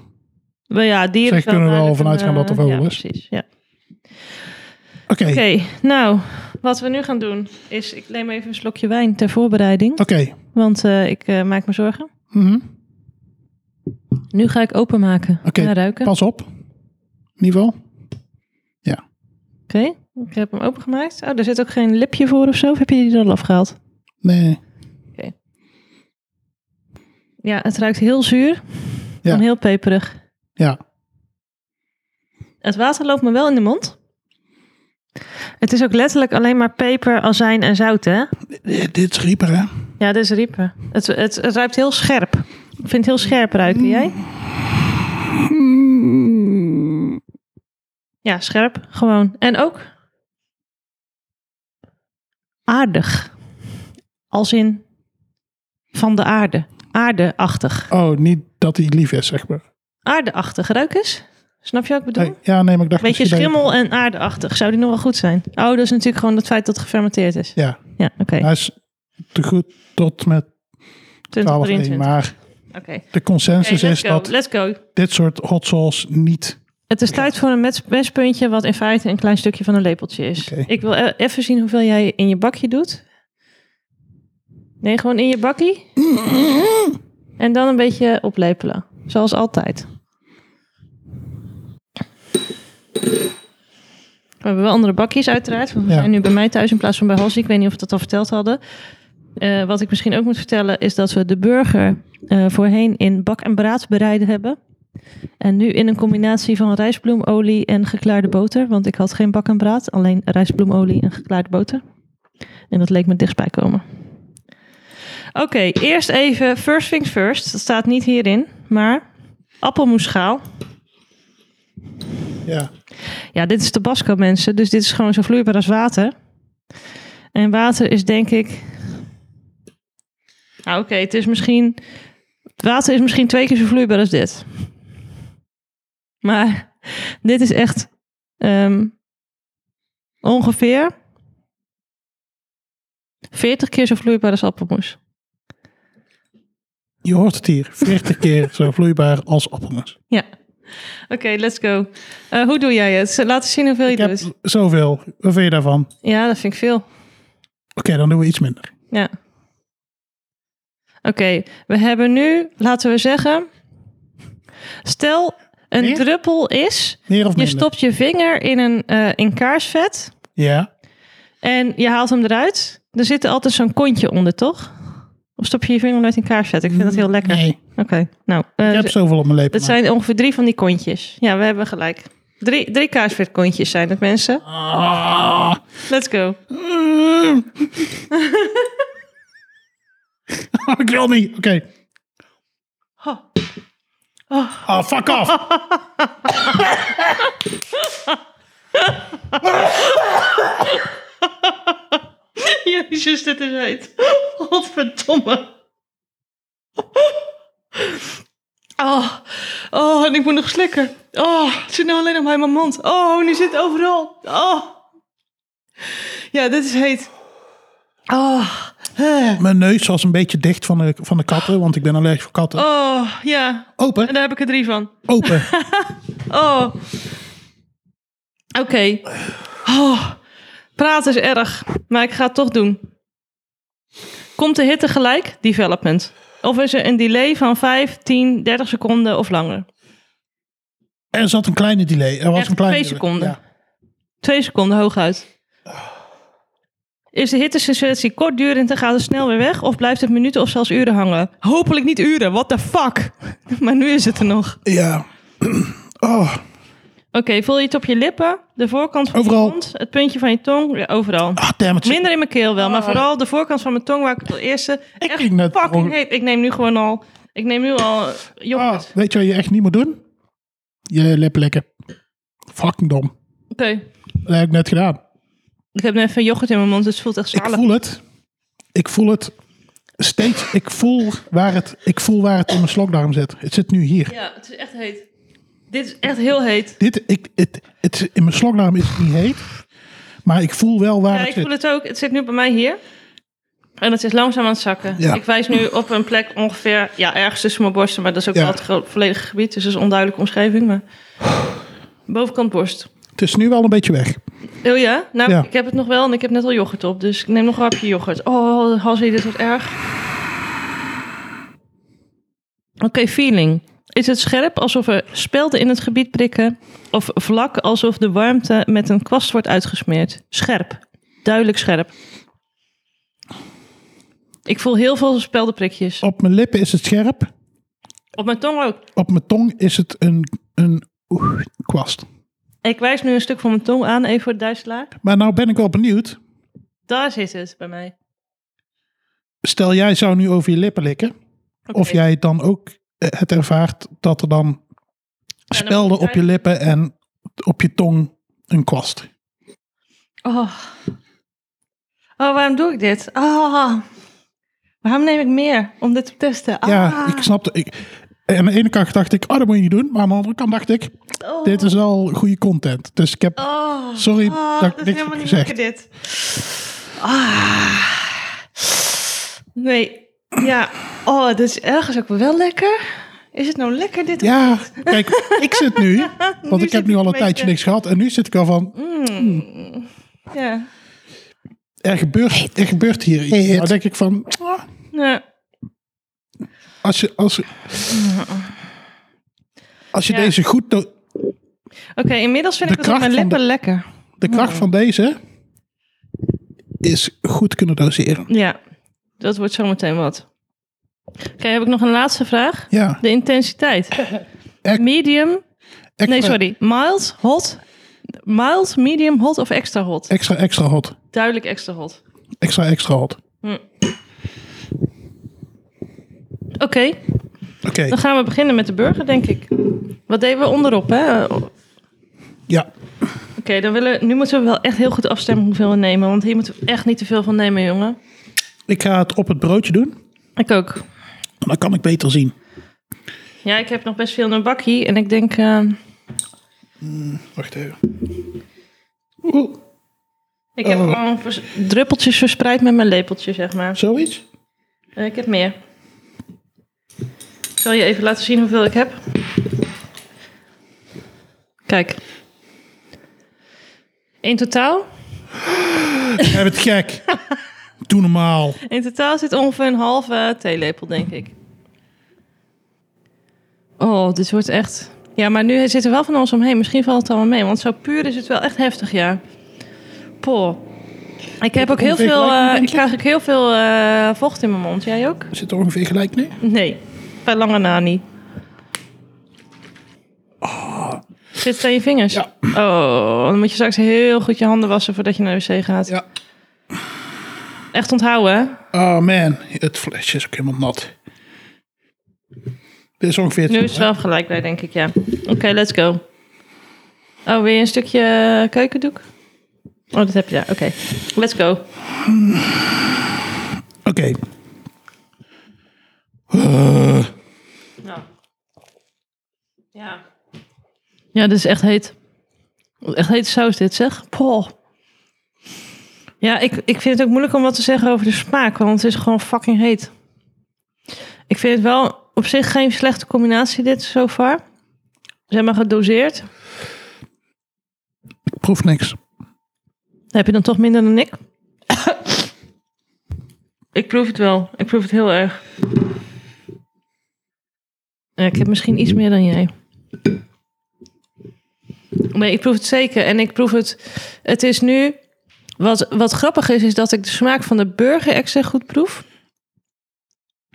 A: Maar ja, dieren
B: Zeg,
A: is wel
B: kunnen we wel
A: duidelijk
B: vanuit
A: een,
B: gaan dat het
A: eh,
B: vogel
A: ja,
B: is?
A: Precies, ja.
B: oké. Oké,
A: Oké, nou, wat we nu gaan doen is... Ik neem even een slokje wijn ter
B: Oh.
A: voorbereiding. Want eh, ik eh, maak me zorgen.
B: Mhm.
A: Nu ga ik openmaken
B: Oké,
A: en ruiken. Oké,
B: pas op. Niveau.
A: ik heb hem opengemaakt. Oh, er zit ook geen lipje voor of zo. Of heb je die er al afgehaald?
B: Nee.
A: Ja, het ruikt heel zuur
B: Ja.
A: en heel peperig.
B: Ja.
A: Het water loopt me wel in de mond. Het is ook letterlijk alleen maar peper, azijn en zout, hè?
B: Dit dit is rieper, hè?
A: Ja, dit is riepen. Het, het, het ruikt heel scherp. Ik vind het heel scherp
B: Mm.
A: ruiken. Jij? Ja, scherp. Gewoon. En ook aardig. Als in van de aarde. Aardeachtig.
B: Oh, niet dat hij lief is, zeg maar.
A: Aardeachtig. Ruik eens. Snap je wat ik bedoel?
B: Nee, ja, nee, maar ik dacht
A: Beetje
B: misschien dat
A: schimmel en aardeachtig. Zou die nog wel goed zijn? Oh, dat is natuurlijk gewoon het feit dat het gefermenteerd is.
B: je- Ja,
A: Ja, oké.
B: hij is te goed tot met
A: 20,
B: 12 1,
A: 23.
B: Maar
A: Oké.
B: de
A: Oké,
B: consensus
A: let's go.
B: is dat
A: Let's go.
B: dit soort hot sauce niet...
A: Het is tijd voor een match- matchpuntje, wat in feite een klein stukje van een lepeltje is.
B: Oké.
A: Ik wil e- even zien hoeveel jij in je bakje doet. Nee, gewoon in je bakkie. En dan een beetje oplepelen. Zoals altijd. We hebben wel andere bakjes uiteraard. Want we
B: Ja.
A: zijn nu bij mij thuis in plaats van bij Halsey. Ik weet niet of we dat al verteld hadden. Eh, wat ik misschien ook moet vertellen is dat we de burger eh, voorheen in bak en braad bereiden hebben. En nu in een combinatie van rijstbloemolie en geklaarde boter. Want ik had geen bak en braad, alleen rijstbloemolie en geklaarde boter. En dat leek me het dichtst bij komen. Oké, eerst even first things first. Dat staat niet hierin, maar appelmoesschaal.
B: Ja,
A: Ja, dit is tabasco mensen, dus dit is gewoon zo vloeibaar als water. En water is denk ik... Nou, oké, het is misschien... Het water is misschien twee keer zo vloeibaar als dit. Maar dit is echt ehm, ongeveer 40 keer zo vloeibaar als appelmoes.
B: je hoort het hier. 40 keer zo vloeibaar als appelmoes.
A: Ja, Oké, let's go. Eh, hoe doe jij het? Laat eens zien hoeveel je
B: Ik heb
A: doet.
B: zoveel. Wat vind je daarvan? Oké,
A: Ja, dat vind ik veel.
B: dan doen we iets minder.
A: Ja. Oké, we hebben nu, laten we zeggen, stel een
B: Meer?
A: druppel is,
B: Meer of
A: je
B: minder?
A: stopt je vinger in, een, eh, in kaarsvet
B: Ja.
A: en je haalt hem eruit. Er zit altijd zo'n kontje onder, toch? Of stop je je vinger nooit in kaarsvet? Ik vind dat heel lekker.
B: Nee,
A: Oké, nou, eh,
B: ik heb zoveel op mijn lepel.
A: dat zijn ongeveer drie van die kontjes. Ja, we hebben gelijk. Drie, drie kaarsvetkontjes zijn het, mensen.
B: Ah.
A: Let's go.
B: Mm. ik wil niet. Oké.
A: Ha.
B: Ah, fuck off.
A: Jezus, dit is heet. Godverdomme. Oh, oh, en ik moet nog slikken. Oh, het zit nou alleen nog maar in mijn mond. Oh, nu zit het overal. Oh. Ja, dit is heet. Oh, eh.
B: Mijn neus was een beetje dicht van de, van de katten, want ik ben allergisch voor katten.
A: oh, ja. En
B: Open,
A: daar heb ik er drie van.
B: open.
A: Oh. Oké. Oh. Praten is erg, maar ik ga het toch doen. Komt de hitte gelijk? Development. Of is er een delay van 5, 10, 30 seconden of langer?
B: Er zat een kleine delay. Er was
A: Echt
B: een kleine
A: twee
B: delay.
A: seconden.
B: Ja.
A: Twee seconden hooguit. Is de hittesensitiekortdurend kortdurend en gaat het snel weer weg? Of blijft het minuten of zelfs uren hangen? Hopelijk niet uren, what the fuck? Maar nu is het er nog.
B: Ja. Oh,
A: Oké, voel je het op je lippen, de voorkant van
B: Overal.
A: je mond, het puntje van je tong, ja, overal.
B: ah, damn it.
A: Minder in mijn keel wel, maar vooral de voorkant van mijn tong waar ik het al eerste
B: Ah. Ik
A: echt
B: ging net
A: fucking
B: gewoon-
A: heet. Ik neem nu gewoon al, ik neem nu al eh,
B: Ah,
A: yoghurt.
B: weet je wat je echt niet moet doen? Je lippen likken. Fucking dom.
A: Oké,
B: Dat heb ik net gedaan.
A: ik heb nu even yoghurt in mijn mond, dus het voelt echt
B: Ik
A: zalig.
B: voel het. Ik voel het. Steeds. Ik voel waar het, ik voel waar het in mijn slokdarm zit. Het zit nu hier.
A: Ja, het is echt heet. Dit is echt heel heet.
B: Dit, ik, het, het, is- in mijn slokdarm is het niet heet. Maar ik voel wel waar
A: Ja,
B: het
A: ik
B: zit.
A: voel het ook. Het zit nu bij mij hier. En het is langzaam aan het zakken.
B: Ja.
A: Ik wijs nu op een plek ongeveer, ja, ergens tussen mijn borsten, maar dat is ook
B: Ja.
A: wel het gro- volledige gebied, dus dat is een onduidelijke omschrijving. Maar bovenkant borst.
B: Het is nu wel een beetje weg.
A: Oh ja? Nou,
B: Ja.
A: ik heb het nog wel en ik heb net al yoghurt op. Dus ik neem nog een hapje yoghurt. Oh, Hassie, dit wordt erg. Oké, feeling. Is het scherp alsof er spelden in het gebied prikken? Of vlak alsof de warmte met een kwast wordt uitgesmeerd? Scherp. Duidelijk scherp. Ik voel heel veel speldenprikjes.
B: Op mijn lippen is het scherp.
A: Op mijn tong ook.
B: Op mijn tong is het een, een oeh, kwast.
A: Ik wijs nu een stuk van mijn tong aan, even voor de duistelaar.
B: Maar nou ben ik wel benieuwd.
A: Daar zit het bij mij.
B: Stel jij zou nu over je lippen likken.
A: Oké.
B: Of jij dan ook eh, het ervaart dat er dan spelden op je lippen en op je tong een kwast.
A: Oh. oh, waarom doe ik dit? Oh. Waarom neem ik meer om dit te testen? Ah.
B: Ja, ik snapte. Ik, eh, aan de ene kant dacht ik, oh, dat moet je niet doen. Maar aan de andere kant dacht ik,
A: Oh.
B: dit is wel goede content. Dus ik heb,
A: Oh.
B: Sorry
A: Oh,
B: dat ik
A: is
B: niks
A: helemaal
B: heb
A: niet
B: gezegd.
A: lekker dit. Ah. Nee, ja. Oh, dit is ergens ook wel lekker. Is het nou lekker dit?
B: ja, kijk, ik zit nu, want ik
A: zit
B: heb nu
A: ik
B: al een
A: een
B: tijdje
A: beetje-
B: niks gehad. En nu zit ik al van,
A: Mm. Ja.
B: er gebeurt, er gebeurt hier iets. Nou denk ik van, ah,
A: ja.
B: als je, als je, als je
A: Mm-hmm. Ja.
B: deze goed, do-
A: Oké, inmiddels vind
B: De
A: ik het op
B: kracht
A: mijn
B: van
A: lippen
B: de-
A: lekker.
B: de kracht van deze is goed kunnen doseren.
A: Ja, dat wordt zometeen wat. Oké, heb ik nog een laatste vraag?
B: Ja,
A: De intensiteit.
B: Echt?
A: Medium.
B: extra,
A: Nee, sorry. Mild, hot. Mild, medium, hot of extra hot?
B: extra, extra hot.
A: Duidelijk extra hot.
B: Extra, extra hot.
A: Oké,
B: Oké,
A: dan gaan we beginnen met de burger, denk ik. Wat deden we onderop, hè? Oké,
B: ja.
A: dan willen, nu moeten we wel echt heel goed afstemmen hoeveel we nemen. Want hier moeten we echt niet te veel van nemen, jongen.
B: Ik ga het op het broodje doen.
A: Ik ook.
B: Dan kan ik beter zien.
A: Ja, ik heb nog best veel in een bakkie. En ik denk, eh,
B: Wacht even. Oeh,
A: ik heb
B: Oh.
A: gewoon vers- druppeltjes verspreid met mijn lepeltje, zeg maar.
B: zoiets?
A: Eh, ik heb meer. Ik zal je even laten zien hoeveel ik heb. Kijk. In totaal,
B: Heb het gek. Doe normaal.
A: in totaal zit ongeveer een halve theelepel, denk ik. Oh, dit wordt echt... Ja, maar nu zit er wel van ons omheen. Misschien valt het allemaal mee, want zo puur is het wel echt heftig, ja. Poh. Ik heb ook heel
B: Ongeveer
A: veel...
B: gelijk,
A: eh,
B: denk
A: ik
B: je?
A: krijg ook heel veel eh, vocht in mijn mond. Jij ook?
B: Zit er ongeveer gelijk nu?
A: Nee, bij lange na niet. Zit het aan je vingers?
B: Ja.
A: Oh, dan moet je straks heel goed je handen wassen voordat je naar de wc gaat.
B: Ja.
A: Echt onthouden, hè?
B: Oh man, het flesje is ook helemaal nat. Dit is ongeveer...
A: Nu is het wel gelijk bij, denk ik, ja. Oké, let's go. Oh, wil je een stukje eh, keukendoek? Oh, dat heb je daar. Oké, let's go.
B: Oké. Eh,
A: Ja. Ja. Ja, dit is echt heet. Echt heet saus dit, zeg. Poh. Ja, ik, ik vind het ook moeilijk om wat te zeggen over de smaak, want het is gewoon fucking heet. Ik vind het wel op zich geen slechte combinatie dit, so far. Ze hebben gedoseerd.
B: ik proef niks.
A: Heb je dan toch minder dan ik? ik proef het wel. Ik proef het heel erg. Ja, ik heb misschien iets meer dan jij. Nee, ik proef het zeker. En ik proef het. Het is nu. Wat, wat grappig is, is dat ik de smaak van de burger extra goed proef.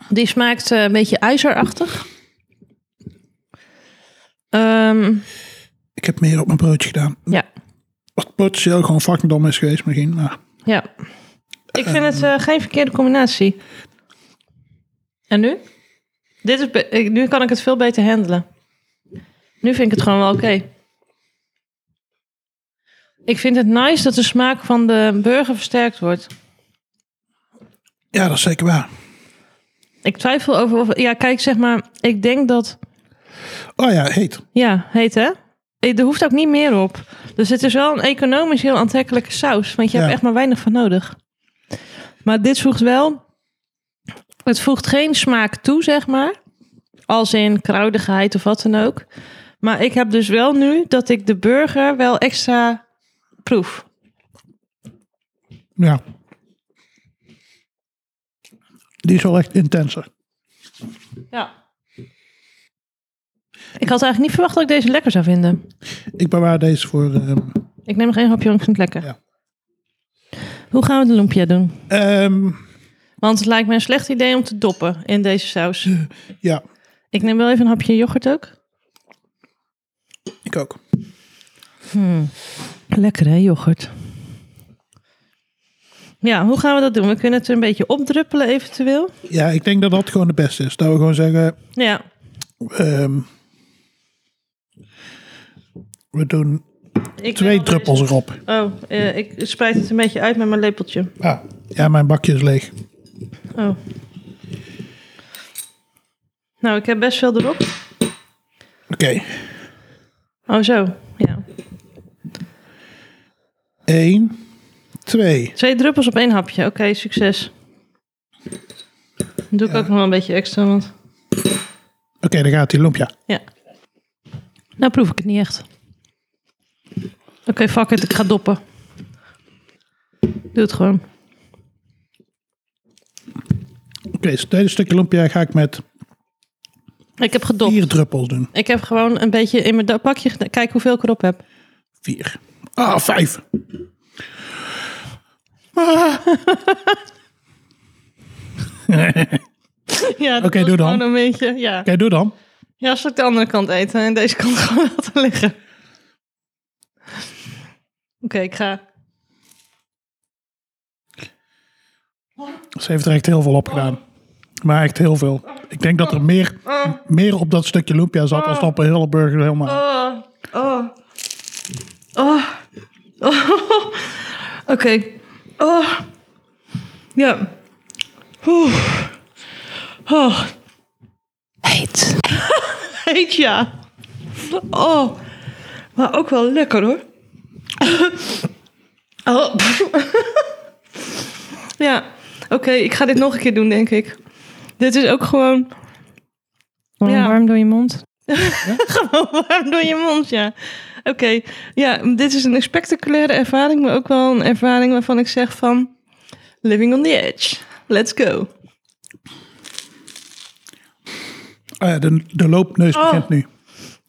A: Die smaakt eh, een beetje ijzerachtig. Ehm,
B: Ik heb meer op mijn broodje gedaan.
A: ja.
B: Wat potentieel gewoon fucking dom is geweest misschien. Maar
A: Ja. Ik vind het eh, geen verkeerde combinatie. En nu? Dit is be- ik- nu kan ik het veel beter handelen. Nu vind ik het gewoon wel oké. Ik vind het nice dat de smaak van de burger versterkt wordt.
B: ja, dat is zeker waar.
A: Ik twijfel over of... Ja, kijk, zeg maar... Ik denk dat...
B: Oh ja, heet.
A: Ja, heet hè? Eh, Er hoeft ook niet meer op. Dus het is wel een economisch heel aantrekkelijke saus. Want je
B: Ja.
A: hebt echt maar weinig van nodig. Maar dit voegt wel... Het voegt geen smaak toe, zeg maar. Als in kruidigheid of wat dan ook. Maar ik heb dus wel nu dat ik de burger wel extra proef.
B: Ja. Die is wel echt intenser.
A: Ja. Ik had eigenlijk niet verwacht dat ik deze lekker zou vinden.
B: Ik bewaar deze voor... ehm,
A: Ik neem nog één hapje, want ik vind het lekker.
B: Ja.
A: Hoe gaan we de lumpia doen?
B: ehm,
A: Want het lijkt me een slecht idee om te doppen in deze saus.
B: ja,
A: Ik neem wel even een hapje yoghurt ook.
B: ik ook.
A: Lekker hè, yoghurt. Ja, hoe gaan we dat doen? We kunnen het er een beetje opdruppelen eventueel.
B: Ja, ik denk dat dat gewoon het beste is. Dat we gewoon zeggen...
A: Ja,
B: ehm, we doen
A: ik neem
B: twee
A: wel
B: druppels erop.
A: deze- Oh, eh, ik spreid het een beetje uit met mijn lepeltje.
B: Ja. ja, mijn bakje is leeg.
A: Oh. Nou, ik heb best veel erop.
B: Oké.
A: Oh, zo. Ja.
B: Eén, twee.
A: Twee druppels op één hapje. Oké, succes. Dan doe ik ook nog wel een beetje extra, want...
B: Oké, dan gaat die lumpia.
A: Ja. Nou proef ik het niet echt. Oké, fuck it. Ik ga doppen. Doe het gewoon.
B: Oké, dus het tweede stukje lumpia ga ik met
A: Ik heb gedopt.
B: vier druppels doen.
A: Ik heb gewoon een beetje in mijn da- pakje... ged- Kijk hoeveel ik erop heb.
B: Vier. Ah, vijf.
A: Ja, dat
B: Oké,
A: was
B: doe dan.
A: gewoon een beetje... Ja.
B: Oké, doe dan.
A: ja, zal ik de andere kant eten en deze kant gewoon laten liggen. Oké, ik ga...
B: Ze heeft er echt heel veel op gedaan. Maar echt heel veel. Ik denk dat er meer, meer op dat stukje lumpia zat als dan op een hele burger helemaal.
A: Oh, oh. Oh. Oh. Oké. Oh. Ja. Oeh. Oh. Heet. Heet, ja. Oh. Maar ook wel lekker, hoor. Oh. ja. Oké, ik ga dit nog een keer doen, denk ik. Dit is ook gewoon...
D: Gewoon
A: Ja.
D: warm door je mond.
A: Warm door je mond, ja. Oké, ja, dit is een spectaculaire ervaring, maar ook wel een ervaring waarvan ik zeg van... Living on the edge, let's go.
B: Ah ja, de, de loopneus
A: Oh.
B: begint nu.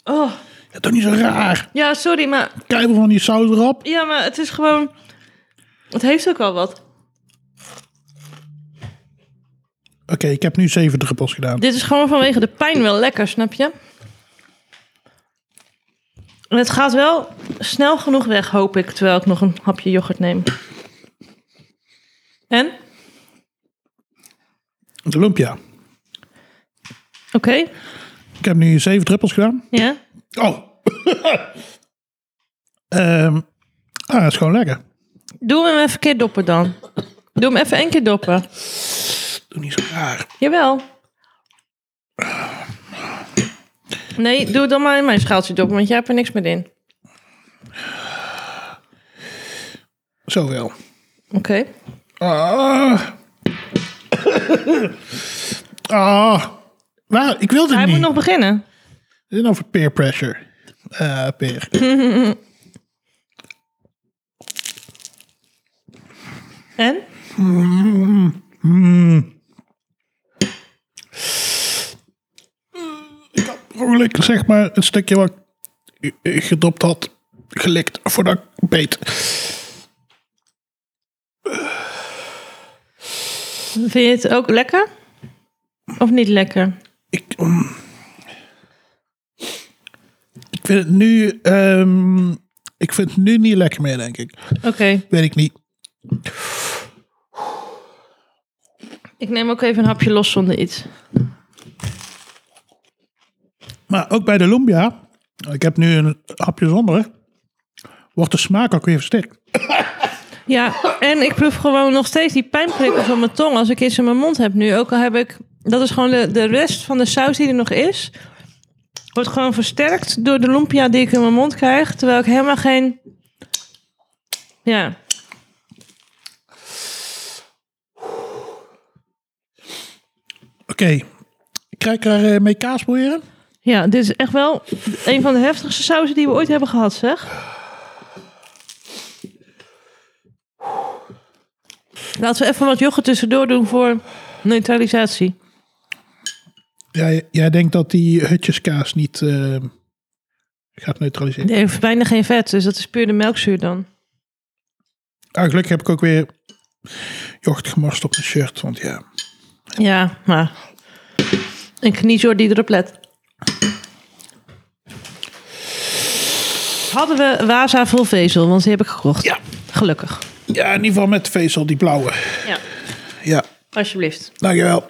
A: Oh,
B: Ja, toch niet zo raar.
A: ja, sorry, maar,
B: Kijken van die saus erop.
A: ja, maar het is gewoon... Het heeft ook al wat.
B: Oké, ik heb nu zeven druppels gedaan.
A: Dit is gewoon vanwege de pijn wel lekker, snap je? En het gaat wel snel genoeg weg, hoop ik, terwijl ik nog een hapje yoghurt neem. En? Oké.
B: De lumpia. Ik heb nu zeven druppels gedaan.
A: Ja?
B: Oh. Ehm, ah, dat is gewoon lekker.
A: Doe hem even een keer doppen dan. Doe hem even één keer doppen.
B: Doe niet zo raar.
A: Jawel. Nee, doe het dan maar in mijn schaaltje doppen, want jij hebt er niks meer in.
B: Zo wel.
A: Oké.
B: Ah. ah. Maar ik wilde
A: Hij
B: het
A: moet
B: niet.
A: nog beginnen.
B: Dit is nou voor peer pressure. Eh, peer.
A: En?
B: Vrolijk, zeg maar, het stukje wat ik eh, gedropt had, gelikt voordat ik beet.
A: Vind je het ook lekker? Of niet lekker?
B: Ik, mm. ik vind het nu... ehm, ik vind het nu niet lekker meer, denk ik.
A: Oké.
B: Weet ik niet.
A: Ik neem ook even een hapje los zonder iets.
B: Maar ook bij de lumpia, ik heb nu een hapje zonder, wordt de smaak ook weer versterkt.
A: Ja, en ik proef gewoon nog steeds die pijnprikkel van mijn tong als ik iets in mijn mond heb nu. Ook al heb ik, dat is gewoon de, de rest van de saus die er nog is, wordt gewoon versterkt door de lumpia die ik in mijn mond krijg. Terwijl ik helemaal geen, ja,
B: Oké, krijg ik er eh, mee kaas proberen?
A: ja, dit is echt wel een van de heftigste sausen die we ooit hebben gehad, zeg. Laten we even wat yoghurt tussendoor doen voor neutralisatie.
B: Jij, jij denkt dat die hutjeskaas niet eh, gaat neutraliseren.
A: Nee, heeft bijna geen vet, dus dat is puur de melkzuur dan.
B: Ah, gelukkig heb ik ook weer yoghurt gemorst op mijn shirt, want ja.
A: Ja, maar een kniezoor die erop let. Hadden we Waza vol vezel, want die heb ik gekocht.
B: Ja.
A: Gelukkig.
B: Ja, in ieder geval met de vezel, die blauwe.
A: Ja,
B: Ja,
A: alsjeblieft.
B: dankjewel.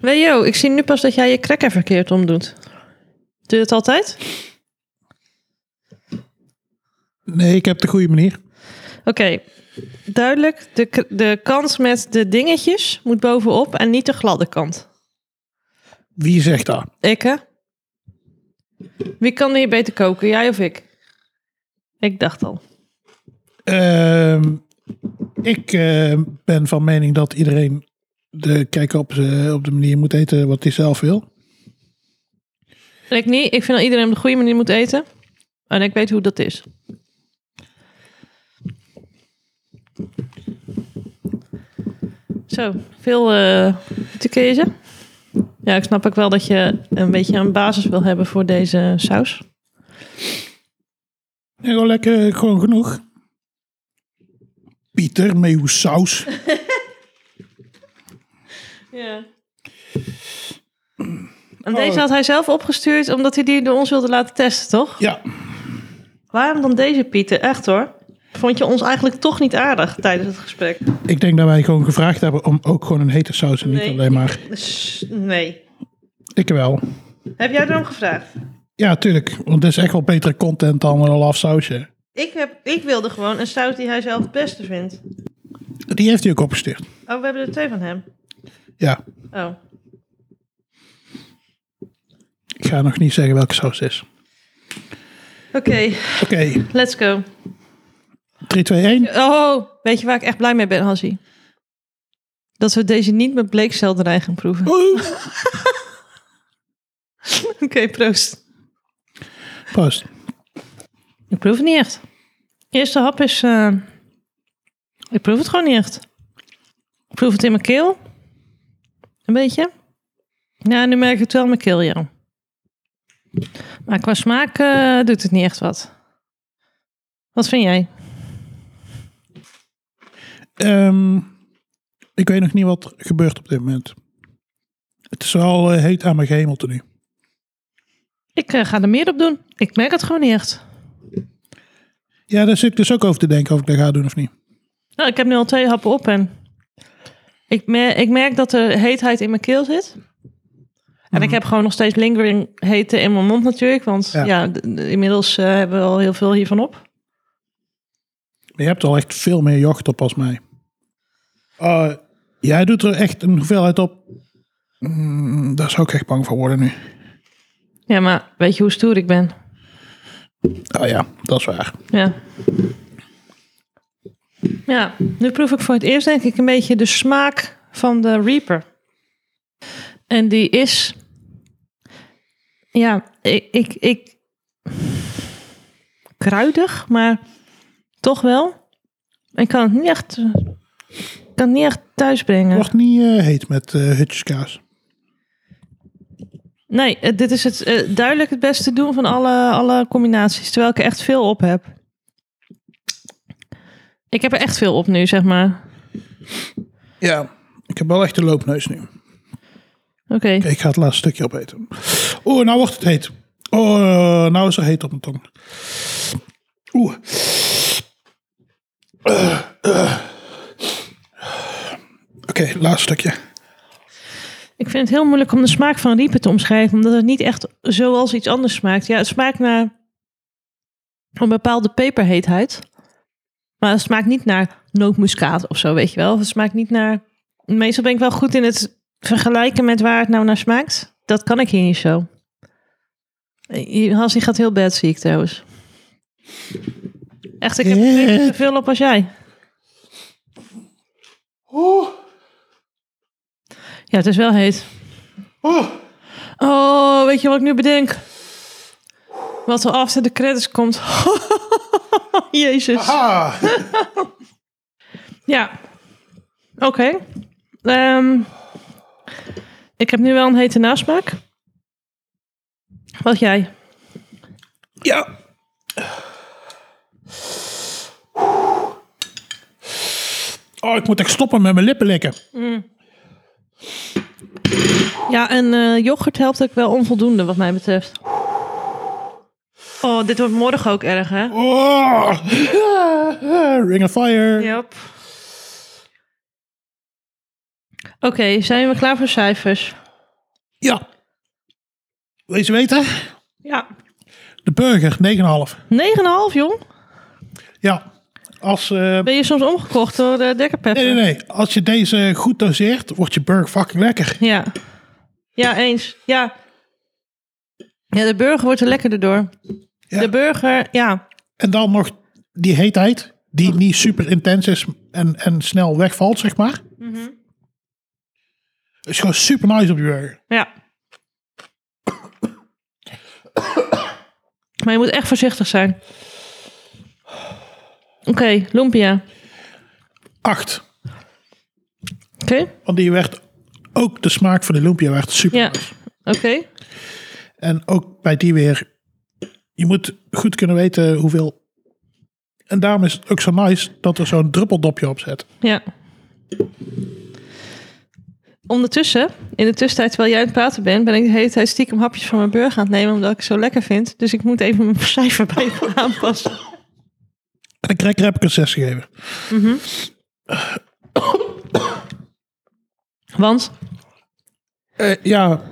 A: Weet yo, ik zie nu pas dat jij je cracker verkeerd omdoet. Doe je dat altijd?
B: Nee, ik heb de goede manier.
A: Oké, duidelijk. De, k- de kant met de dingetjes moet bovenop en niet de gladde kant.
B: Wie zegt dat?
A: Ik, hè? Wie kan hier beter koken, jij of ik? Ik dacht al.
B: Ehm, ik eh, ben van mening dat iedereen de kijk op, ze- op de manier moet eten wat hij zelf wil.
A: Ik niet. Ik vind dat iedereen op de goede manier moet eten. En ik weet hoe dat is. Zo, veel eh te kiezen. Ja, ik snap ook wel dat je een beetje een basis wil hebben voor deze saus.
B: En gewoon lekker, gewoon genoeg. Pieter, met uw saus.
A: Ja. Oh. En deze had hij zelf opgestuurd omdat hij die door ons wilde laten testen, toch?
B: Ja,
A: Waarom dan deze, Pieter? Echt hoor. Vond je ons eigenlijk toch niet aardig tijdens het gesprek?
B: ik denk dat wij gewoon gevraagd hebben om ook gewoon een hete saus en niet
A: Nee.
B: alleen maar.
A: S- Nee.
B: Ik wel.
A: Heb jij erom gevraagd?
B: Ja, tuurlijk. Want het is echt wel betere content dan een laf sausje.
A: Ik, heb, ik wilde gewoon een saus die hij zelf het beste vindt.
B: Die heeft hij ook opgestuurd.
A: Oh, we hebben er twee van hem.
B: Ja,
A: Oh.
B: ik ga nog niet zeggen welke saus het is.
A: Oké,
B: Oké,
A: let's go.
B: 3, 2, 1.
A: Oh, weet je waar ik echt blij mee ben, Hansie? Dat we deze niet met bleekselderij gaan proeven.
B: Oeh.
A: Oké, proost.
B: Proost.
A: Ik proef het niet echt. Eerste hap is... eh, ik proef het gewoon niet echt. Ik proef het in mijn keel. Een beetje. Ja, nu merk ik het wel in mijn keel, ja. Maar qua smaak eh, doet het niet echt wat. Wat vind jij?
B: Ehm, ik weet nog niet wat er gebeurt op dit moment. Het is al eh, heet aan mijn gehemelte nu.
A: Ik eh, ga er meer op doen. Ik merk het gewoon niet echt.
B: Ja, daar zit ik dus ook over te denken of ik dat ga doen of niet.
A: Nou, ik heb nu al twee happen op en ik, mer- ik merk dat er heetheid in mijn keel zit. En ik heb gewoon nog steeds lingering hete in mijn mond natuurlijk, want ja,
B: Ja.
A: d- d- inmiddels eh, hebben we al heel veel hiervan op.
B: Maar je hebt al echt veel meer jocht op als mij. Eh, jij doet er echt een hoeveelheid op. Mm, daar zou ik echt bang voor worden nu.
A: Ja, maar weet je hoe stoer ik ben?
B: Oh ja, dat is waar.
A: Ja. Ja, nu proef ik voor het eerst denk ik een beetje de smaak van de Reaper. En die is... Ja, ik... ik, ik kruidig, maar toch wel. Ik kan het niet echt, eh, ik kan het niet echt thuisbrengen.
B: Wordt niet eh, heet met eh hutjeskaas.
A: Nee, eh, dit is het, eh, duidelijk het beste doen van alle, alle combinaties. Terwijl ik er echt veel op heb. Ik heb er echt veel op nu, zeg maar.
B: Ja, ik heb wel echt een loopneus nu.
A: Oké.
B: Oké, ik ga het laatste stukje opeten. Oeh, nou wordt het heet. Oh, nou is er heet op mijn tong. Oeh. Eh, eh. Oké, laatste stukje.
A: Ik vind het heel moeilijk om de smaak van riepen te omschrijven. Omdat het niet echt zoals iets anders smaakt. Ja, het smaakt naar een bepaalde peperheetheid. Maar het smaakt niet naar nootmuskaat of zo, weet je wel. Of het smaakt niet naar... Meestal ben ik wel goed in het vergelijken met waar het nou naar smaakt. Dat kan ik hier niet zo. Eh, Hans, die gaat heel bad, zie ik trouwens. Echt, ik heb er twee keer zoveel op als jij.
B: Oeh,
A: Ja, het is wel heet.
B: oeh.
A: Oh, weet je wat ik nu bedenk? Wat er after de credits komt. Jezus.
B: Ah,
A: Ja. Oké. Ehm, ik heb nu wel een hete nasmaak. Wat jij?
B: ja. Oh, ik moet echt stoppen met mijn lippen likken.
A: Ja, en eh, yoghurt helpt ook wel onvoldoende wat mij betreft. Oh, dit wordt morgen ook erg, hè?
B: Oh, ring of fire.
A: Yep. Oké, zijn we klaar voor cijfers?
B: Ja. Wil je ze weten?
A: Ja.
B: De burger, 9,5.
A: 9,5, jong.
B: Ja. Als, eh,
A: Ben je soms omgekocht door eh, de dekkerpepper?
B: nee, nee, nee. Als je deze goed doseert, wordt je burger fucking lekker.
A: Ja. Ja, eens. Ja. Ja, de burger wordt er lekkerder door.
B: Ja.
A: De burger, ja.
B: En dan nog die heetheid, die niet super intens is en, en snel wegvalt, zeg maar. Het is gewoon super nice op je burger.
A: Ja. Maar je moet echt voorzichtig zijn. Oké, lumpia.
B: 8.
A: Oké?
B: Want die werd, ook de smaak van de lumpia werd super
A: Ja.
B: nice.
A: Oké.
B: En ook bij die weer, je moet goed kunnen weten hoeveel... En daarom is het ook zo nice dat er zo'n druppeldopje op zit.
A: Ja. Ondertussen, in de tussentijd terwijl jij aan het praten bent, ben ik de hele tijd stiekem hapjes van mijn burger aan het nemen, omdat ik het zo lekker vind. Dus ik moet even mijn cijfer bij je aanpassen.
B: En de cracker heb ik een 6 gegeven.
A: Want,
B: Eh, ja.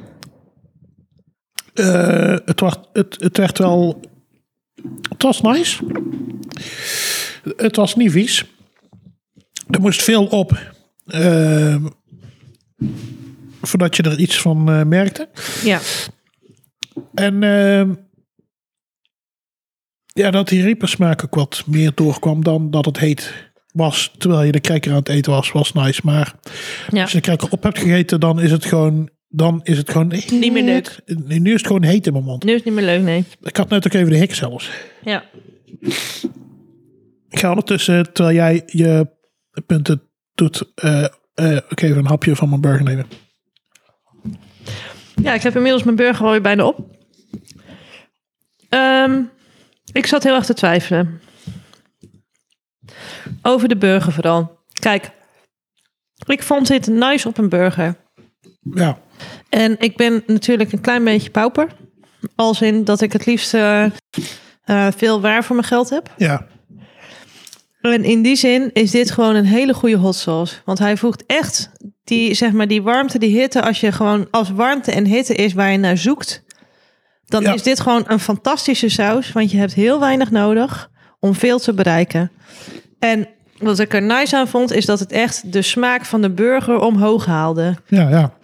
B: Eh, het, werd, het, het werd wel. Het was nice. Het was niet vies. Er moest veel op. eh, voordat je er iets van eh, merkte.
A: ja.
B: En. eh, ja, dat die riepersmaak ook wat meer doorkwam dan dat het heet was. Terwijl je de cracker aan het eten was, was nice. Maar
A: ja.
B: als je de cracker op hebt gegeten, dan is het gewoon dan is het gewoon...
A: Niet meer leuk.
B: Nu nu is het gewoon heet in mijn mond.
A: Nu is het niet meer leuk, nee.
B: Ik had net ook even de hik zelfs.
A: Ja.
B: Ik ga ondertussen, terwijl jij je punten doet, eh, eh, ook even een hapje van mijn burger nemen.
A: Ja, ik heb inmiddels mijn burger alweer bijna op. Ehm, ik zat heel erg te twijfelen. Over de burger vooral. Kijk, ik vond dit nice op een burger.
B: Ja,
A: En ik ben natuurlijk een klein beetje pauper. Als in dat ik het liefst eh, eh, veel waar voor mijn geld heb.
B: ja,
A: En in die zin is dit gewoon een hele goede hot sauce. Want hij voegt echt die, zeg maar, die warmte, die hitte. Als je gewoon als warmte en hitte is waar je naar zoekt. Dan
B: Ja.
A: is dit gewoon een fantastische saus. Want je hebt heel weinig nodig om veel te bereiken. En wat ik er nice aan vond, is dat het echt de smaak van de burger omhoog haalde.
B: ja, ja.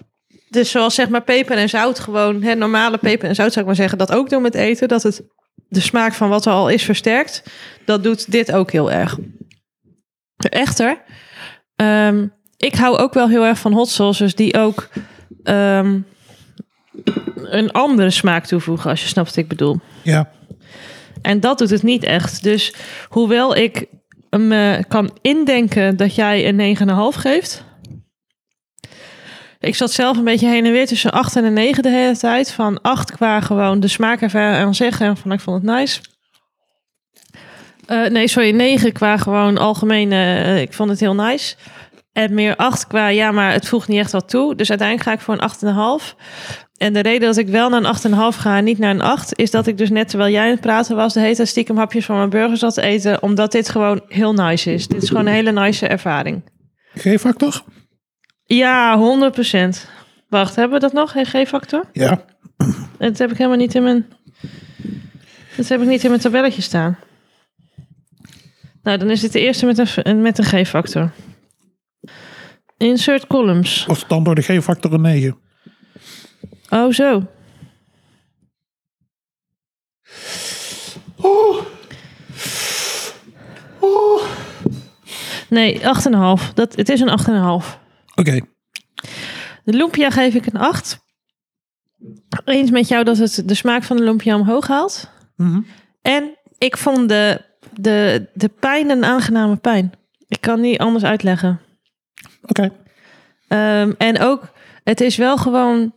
A: Dus zoals zeg maar peper en zout gewoon, hè, normale peper en zout zou ik maar zeggen, dat ook doen met eten. Dat het de smaak van wat er al is versterkt. Dat doet dit ook heel erg. Echter, ehm, ik hou ook wel heel erg van hot sauces die ook ehm, een andere smaak toevoegen, als je snapt wat ik bedoel.
B: ja.
A: En dat doet het niet echt. Dus hoewel ik me kan indenken dat jij een 9,5 geeft. Ik zat zelf een beetje heen en weer tussen 8 en een 9 de hele tijd. Van 8 qua gewoon de smaak ervan aan zeggen. En van ik vond het nice. Eh, nee, sorry, 9 qua gewoon algemeen. eh, ik vond het heel nice. En meer 8 qua ja, maar het voegt niet echt wat toe. Dus uiteindelijk ga ik voor een 8,5. En de reden dat ik wel naar een 8,5 ga en niet naar een 8, is dat ik dus net terwijl jij aan het praten was, de hele tijd stiekem hapjes van mijn burger zat te eten, omdat dit gewoon heel nice is. Dit is gewoon een hele nice ervaring.
B: G-factor?
A: Ja, 100%. Wacht, hebben we dat nog? Geen G-factor?
B: Ja.
A: Dat heb ik helemaal niet in mijn. Dat heb ik niet in mijn tabelletje staan. Nou, dan is dit de eerste met een, v- met een G-factor. Insert columns.
B: Was het dan door de G-factor een 9?
A: Oh, zo. Nee, 8,5. Dat, het is een 8,5.
B: Oké.
A: De lumpia geef ik een 8. Eens met jou dat het de smaak van de lumpia omhoog haalt.
B: Mhm.
A: En ik vond de, de, de pijn een aangename pijn. Ik kan niet anders uitleggen.
B: Oké.
A: Ehm, en ook, het is wel gewoon.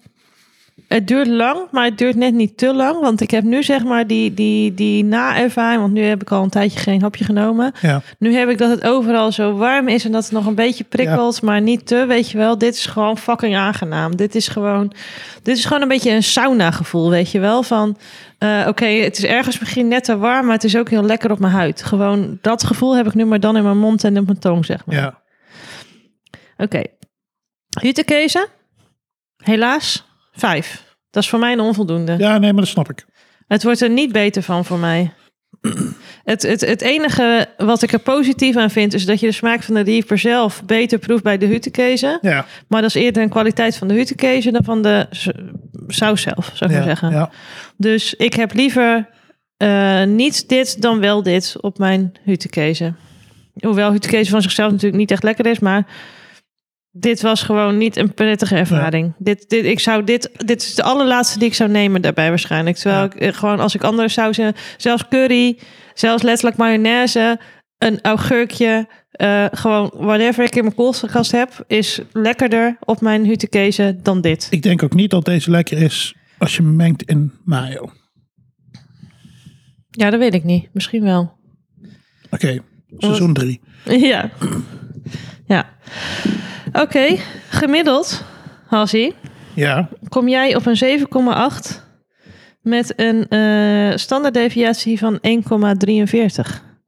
A: Het duurt lang, maar het duurt net niet te lang. Want ik heb nu zeg maar die, die, die na-ervaring. Want nu heb ik al een tijdje geen hapje genomen.
B: Ja.
A: Nu heb ik dat het overal zo warm is en dat het nog een beetje prikkelt, maar niet te. Weet je wel, dit is gewoon fucking aangenaam. Dit is gewoon, dit is gewoon een beetje een sauna gevoel, weet je wel. Van eh, oké, het is ergens misschien net te warm, maar het is ook heel lekker op mijn huid. Gewoon dat gevoel heb ik nu maar dan in mijn mond en op mijn tong, zeg maar.
B: Ja.
A: Oké. Jutekezen? Helaas, vijf. Dat is voor mij een onvoldoende.
B: Ja, nee, maar dat snap ik.
A: Het wordt er niet beter van voor mij. Het, het, het enige wat ik er positief aan vind, is dat je de smaak van de rieper zelf beter proeft bij de huttenkezen.
B: Ja.
A: Maar dat is eerder een kwaliteit van de huttenkezen dan van de s- saus zelf, zou ik
B: ja.
A: maar zeggen.
B: Ja.
A: Dus ik heb liever eh, niet dit dan wel dit op mijn huttenkezen. Hoewel huttenkezen van zichzelf natuurlijk niet echt lekker is, maar dit was gewoon niet een prettige ervaring. Dit, dit, ik zou dit, dit is de allerlaatste die ik zou nemen daarbij waarschijnlijk. Terwijl
B: Ja.
A: ik eh, gewoon als ik andere sausen, zelfs curry, zelfs letterlijk mayonaise, een augurkje, eh, gewoon whatever ik in mijn koelkast heb, is lekkerder op mijn huttenkezen dan dit.
B: Ik denk ook niet dat deze lekker is als je hem mengt in mayo. Oké.
A: Ja, dat weet ik niet. Misschien wel.
B: Seizoen 3.
A: Ja. Ja. Oké, gemiddeld, Hassie,
B: Ja.
A: kom jij op een 7,8 met een eh standaarddeviatie van 1,43.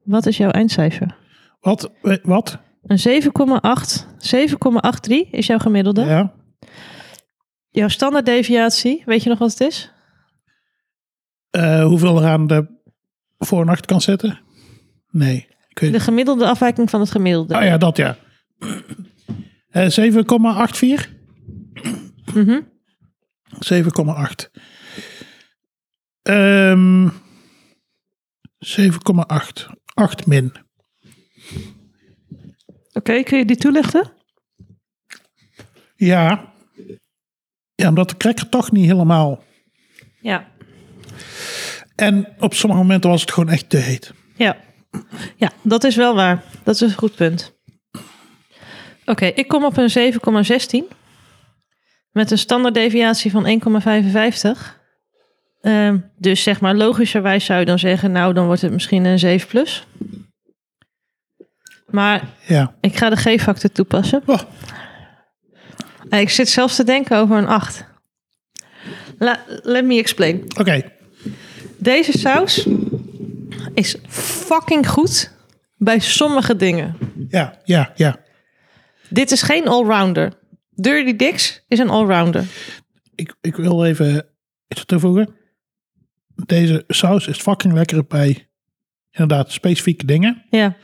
A: Wat is jouw eindcijfer?
B: Wat? Eh, Wat?
A: Een 7,8, 7,83 is jouw gemiddelde.
B: Ja.
A: Jouw standaarddeviatie, weet je nog wat het is?
B: Eh, hoeveel er aan de voor- en achter kan zitten? Nee. Ik weet
A: De gemiddelde afwijking van het gemiddelde.
B: Oh ja, dat ja. Eh 7,84?
A: Mhm.
B: 7,8. Ehm 7,8. 8 min.
A: Oké, kun je die toelichten?
B: Ja. Ja, omdat de cracker toch niet helemaal...
A: Ja.
B: En op sommige momenten was het gewoon echt te heet.
A: Ja. ja, dat is wel waar. Dat is een goed punt. Oké, ik kom op een 7,16. Met een standaarddeviatie van 1,55. Ehm, dus zeg maar logischerwijs zou je dan zeggen... nou, dan wordt het misschien een 7 plus. Maar
B: Ja.
A: ik ga de G-factor toepassen.
B: Oh,
A: Eh, Ik zit zelfs te denken over een 8. La- let me explain.
B: Oké,
A: Deze saus is fucking goed bij sommige dingen.
B: ja, ja, ja.
A: Dit is geen allrounder. Dirty Dicks is een allrounder.
B: Ik, ik wil even iets toevoegen. Deze saus is fucking lekker bij inderdaad specifieke dingen,
A: Ja.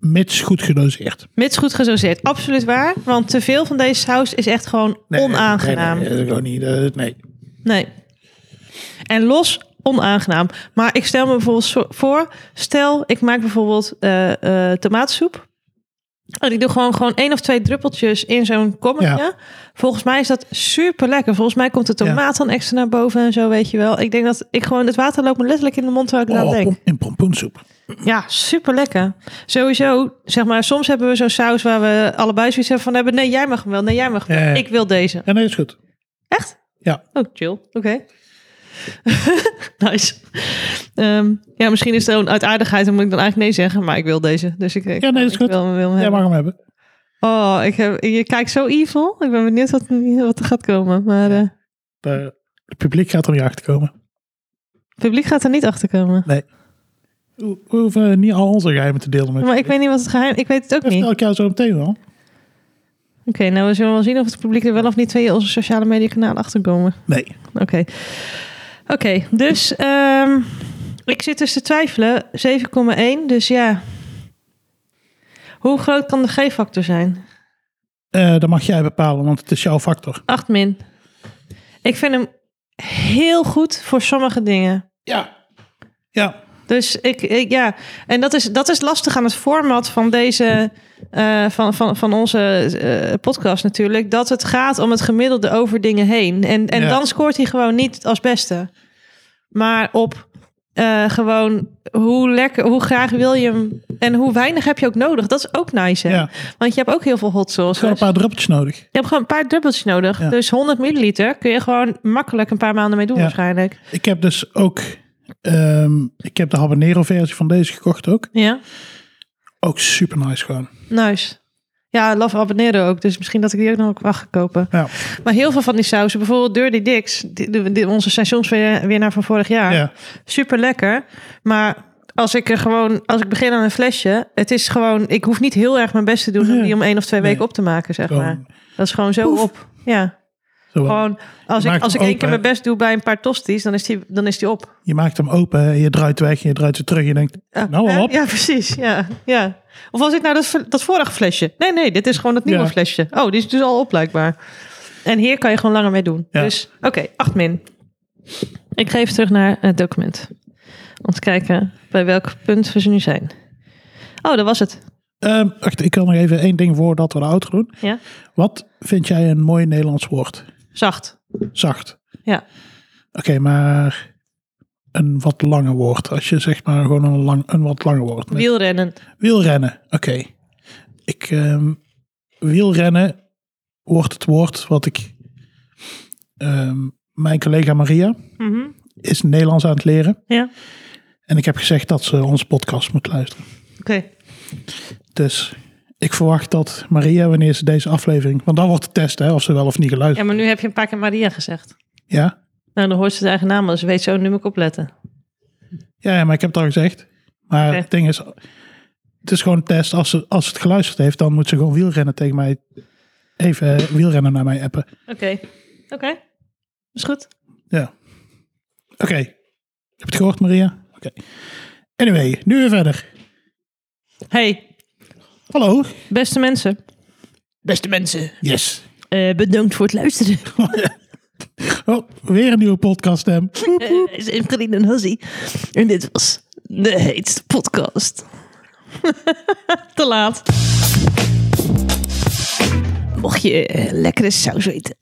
B: mits goed gedoseerd.
A: Mits goed gedoseerd. Absoluut waar. Want te veel van deze saus is echt gewoon onaangenaam. Nee,
B: Nee, nee, dat is gewoon niet. eh, nee.
A: En los onaangenaam. Maar ik stel me bijvoorbeeld zo- voor. Stel, ik maak bijvoorbeeld eh, eh, tomatensoep. En ik doe gewoon, gewoon één of twee druppeltjes in zo'n kommetje.
B: Ja.
A: Volgens mij is dat super lekker. Volgens mij komt de
B: Ja.
A: tomaat dan extra naar boven en zo, weet je wel. Ik denk dat ik gewoon, het water loopt me letterlijk in de mond terwijl ik eraan
B: Oh,
A: denk.
B: pom- in pompoensoep.
A: Ja, super lekker. Sowieso, zeg maar, soms hebben we zo'n saus waar we allebei zoiets hebben van hebben. Nee, jij mag hem wel. Nee, jij mag hem wel.
B: Ja, ja.
A: Ik wil deze.
B: Ja, nee, is goed.
A: Echt?
B: Ja.
A: Oh, chill. Oké. nice. Ehm, ja, misschien is het gewoon uit aardigheid en moet ik dan eigenlijk nee zeggen, maar ik wil deze. Dus ik, ik,
B: Ja, nee, dat is
A: ik
B: goed.
A: wil hem, wil hem
B: Jij
A: hebben.
B: mag hem hebben.
A: Oh, ik heb, je kijkt zo evil. Ik ben benieuwd wat, wat er gaat komen. Maar eh,
B: De, het publiek gaat er niet achter komen.
A: het publiek gaat er niet achter komen.
B: We we hoeven niet al onze geheimen te delen met
A: Maar ik weet niet wat het geheim Ik weet het ook
B: Dat
A: niet.
B: vertel
A: Oké,
B: ik jou zo meteen wel.
A: nou we zullen wel zien of het publiek er wel of niet via onze sociale media kanalen achter komen.
B: Nee.
A: Oké. Oké, dus ehm, ik zit dus te twijfelen. 7,1, dus ja. Hoe groot kan de G-factor zijn?
B: Eh dat mag jij bepalen, want het is jouw factor.
A: 8 min. Ik vind hem heel goed voor sommige dingen.
B: Ja. Ja.
A: Dus ik, ik- ja, en dat is, dat is lastig aan het format van deze, eh, van, van, van onze eh, podcast natuurlijk. Dat het gaat om het gemiddelde over dingen heen. En, en
B: Ja.
A: dan scoort hij gewoon niet als beste. Maar op eh, gewoon hoe lekker, hoe graag wil je hem. En hoe weinig heb je ook nodig. Dat is ook nice. Hè?
B: Ja.
A: Want je hebt ook heel veel hot sauce.
B: Gewoon een paar druppeltjes nodig.
A: Je hebt gewoon een paar druppeltjes nodig.
B: Ja.
A: Dus 100 milliliter kun je gewoon makkelijk een paar maanden mee doen
B: Ja.
A: waarschijnlijk.
B: Ik heb dus ook... ehm, ik heb de habanero versie van deze gekocht ook.
A: Ja.
B: Ook super nice gewoon.
A: Nice. Ja, love abonneren ook. Dus misschien dat ik die ook nog mag gaan kopen.
B: Ja.
A: Maar heel veel van die sausen, bijvoorbeeld Dirty Dicks, die, die- die- onze seizoenswinnaar van vorig jaar.
B: ja.
A: Super lekker. Maar als ik er gewoon, als ik begin aan een flesje, het is gewoon, ik hoef niet heel erg mijn best te doen om
B: Nee.
A: die om één of twee
B: Nee.
A: weken op te maken, zeg maar.
B: Gewoon,
A: Dat is gewoon zo
B: Poef.
A: op. Ja,
B: zo wel.
A: gewoon als ik,
B: Je maakt
A: als ik
B: hem
A: één keer
B: open.
A: mijn best doe bij een paar tosties, dan is die, dan is die op.
B: Je maakt hem open, je draait weg, je draait ze terug. en Je denkt,
A: Ja.
B: nou al op.
A: Ja, precies. Ja, ja. Of was ik nou dat, ver- dat vorige flesje? Nee, nee, dit is gewoon het nieuwe
B: Ja.
A: flesje. Oh, die is dus al op blijkbaar. En hier kan je gewoon langer mee doen.
B: Ja.
A: Dus oké, 8 min. Ik geef terug naar het document. Om te kijken bij welk punt we ze nu zijn. Oh, dat was het.
B: Ehm, wacht, ik wil nog even één ding voordat we de outro doen.
A: Ja.
B: Wat vind jij een mooi Nederlands woord?
A: Zacht.
B: Zacht.
A: Ja.
B: Oké, maar een wat langer woord. Als je zeg maar gewoon een, lang, een wat langer woord. neemt.
A: Wielrennen.
B: Wielrennen, oké. Ik, ehm, wielrennen wordt het woord wat ik... ehm, mijn collega Maria
A: Mhm.
B: is Nederlands aan het leren.
A: Ja.
B: En ik heb gezegd dat ze onze podcast moet luisteren.
A: Oké.
B: Dus ik verwacht dat Maria, wanneer ze deze aflevering... Want dan wordt de test, hè, of ze wel of niet
A: Ja,
B: geluisterd.
A: maar nu heb je een paar keer Maria gezegd.
B: Ja?
A: Nou, dan hoort ze de eigen naam, dus ze weet zo, nu moet ik opletten.
B: Ja, ja, maar ik heb het al gezegd. Maar
A: Oké.
B: het ding is... Het is gewoon een test. Als ze, als ze het geluisterd heeft, dan moet ze gewoon wielrennen tegen mij... Even eh, wielrennen naar mij appen.
A: Oké. Oké. Is goed.
B: Ja. Oké. Heb je het gehoord, Maria? Oké. Anyway, nu weer verder.
A: Hey,
B: Hallo.
A: beste mensen.
B: Yes.
A: Eh, bedankt voor het luisteren.
B: Oh, weer een nieuwe podcaststem.
A: Eh, is Emkerien en Hazzy. En dit was de heetste podcast. Te laat. Mocht je eh, lekkere saus weten.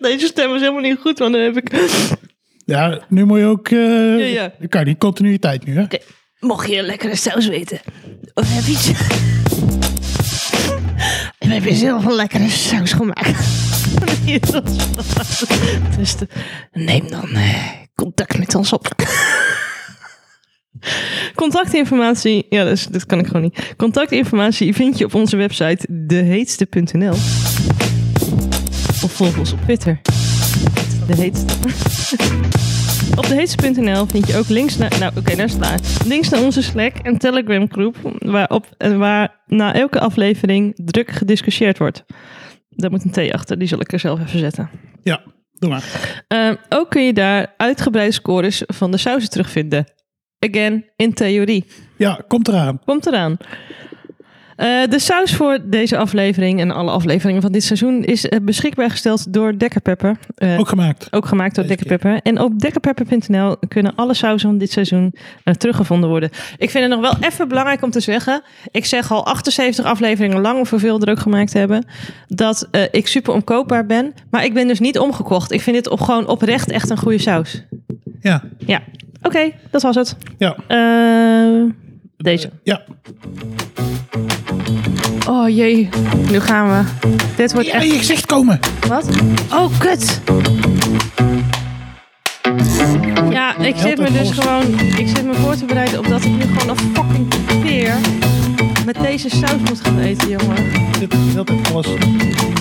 A: deze stem is helemaal niet goed, want dan heb ik...
B: Ja, nu moet je ook... eh
A: Ja, ja.
B: Dan kan je die continuïteit nu, hè?
A: Oké, Mocht je een lekkere saus weten, of heb je iets... En heb je zelf een lekkere saus gemaakt? Die is ons verlaten. dus de- neem dan eh, contact met ons op. Contactinformatie, ja, dus, dit kan ik gewoon niet. Contactinformatie vind je op onze website deheetste.nl. Of volg ons op Twitter. De heetste. Op deheetste.nl vind je ook links naar... Nou, oké, daar staat. Links naar onze Slack en Telegram groep... Waarop, en waar na elke aflevering druk gediscussieerd wordt. Daar moet een T achter, die zal ik er zelf even zetten.
B: Ja, doe maar.
A: Eh, ook kun je daar uitgebreide scores van de sausen terugvinden. Again, in theorie.
B: Ja, komt eraan.
A: Komt eraan. Eh, de saus voor deze aflevering en alle afleveringen van dit seizoen is eh, beschikbaar gesteld door Dekker Pepper. Eh,
B: Ook gemaakt.
A: ook gemaakt door
B: Deze
A: Dekker Pepper. En op dekkerpepper.nl kunnen alle sauzen van dit seizoen eh, teruggevonden worden. Ik vind het nog wel even belangrijk om te zeggen. Ik zeg al 78 afleveringen lang, of hoeveel we er ook gemaakt hebben, dat eh, ik super omkoopbaar ben. Maar ik ben dus niet omgekocht. Ik vind dit op, gewoon oprecht echt een goede saus.
B: Ja,
A: Ja, oké, dat was het.
B: ja.
A: Eh, deze.
B: Ja,
A: Oh jee, nu gaan we. Dit wordt
B: ja
A: echt
B: je gezicht komen.
A: wat. Oh, kut. Ja, ik zit me dus gewoon... Ik zit me voor te bereiden op dat ik nu gewoon een fucking peer met deze saus moet gaan eten, jongen.
B: Ik zit de hele tijd alles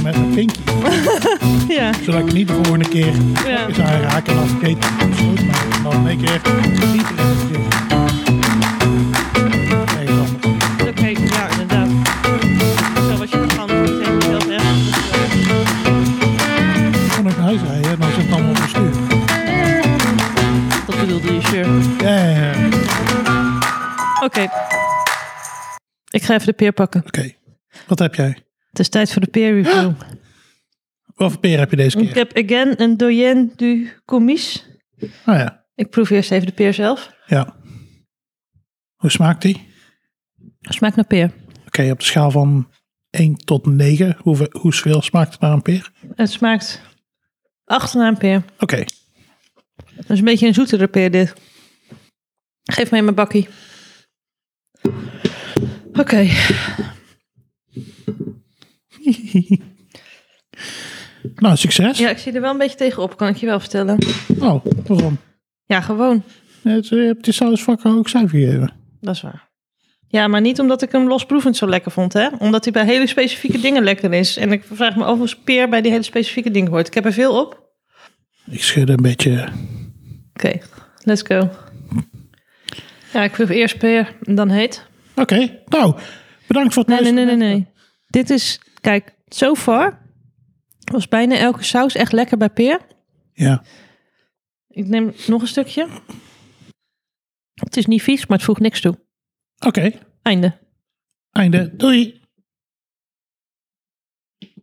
B: met een pinkie.
A: Ja,
B: Zodat ik niet de volgende keer
A: ja.
B: eens aanraken en dan vergeet ik het besloten maken. En dan in één keer niet in het gezicht. Ergens anders.
A: Oké, ja, inderdaad. Zo was je begaan, moet je dat echt...
B: Ik kon ook naar huis rijden en dan zit het allemaal op de stuur.
A: Dat bedoelde je, sure.
B: Ja, ja, ja. Oké.
A: Oké. Ik ga even de peer pakken.
B: Wat heb jij?
A: Het is tijd voor de peer review.
B: Wat voor peer heb je deze
A: Ik
B: keer?
A: heb again een doyen du commis.
B: Ah ja.
A: Ik proef eerst even de peer zelf.
B: ja. Hoe smaakt die?
A: Smaakt naar peer.
B: Oké, op de schaal van 1 tot 9. Hoeveel, hoeveel smaakt het naar een peer?
A: Het smaakt acht naar een peer.
B: Oké.
A: Dat is een beetje een zoetere peer dit. Geef mij mijn bakkie. Oké.
B: Nou, succes.
A: Ja, ik zie er wel een beetje tegenop, kan ik je wel vertellen.
B: Oh, waarom?
A: Ja, gewoon.
B: Het, je hebt die sausvakken ook cijfer gegeven.
A: Dat is waar. Ja, maar niet omdat ik hem losproevend zo lekker vond, hè? Omdat hij bij hele specifieke dingen lekker is. En ik vraag me af of peer bij die hele specifieke dingen hoort. Ik heb er veel op. Oké,
B: Ik schudde een beetje.
A: let's go. Ja, ik proef eerst peer en dan heet.
B: Oké, nou, bedankt voor
A: Nee,
B: het
A: nee, nee,
B: luisteren.
A: nee, nee. Dit is, kijk, so far was bijna elke saus echt lekker bij peer.
B: Ja,
A: Ik neem nog een stukje. Het is niet vies, maar het voegt niks toe.
B: oké.
A: Einde.
B: Einde. Doei.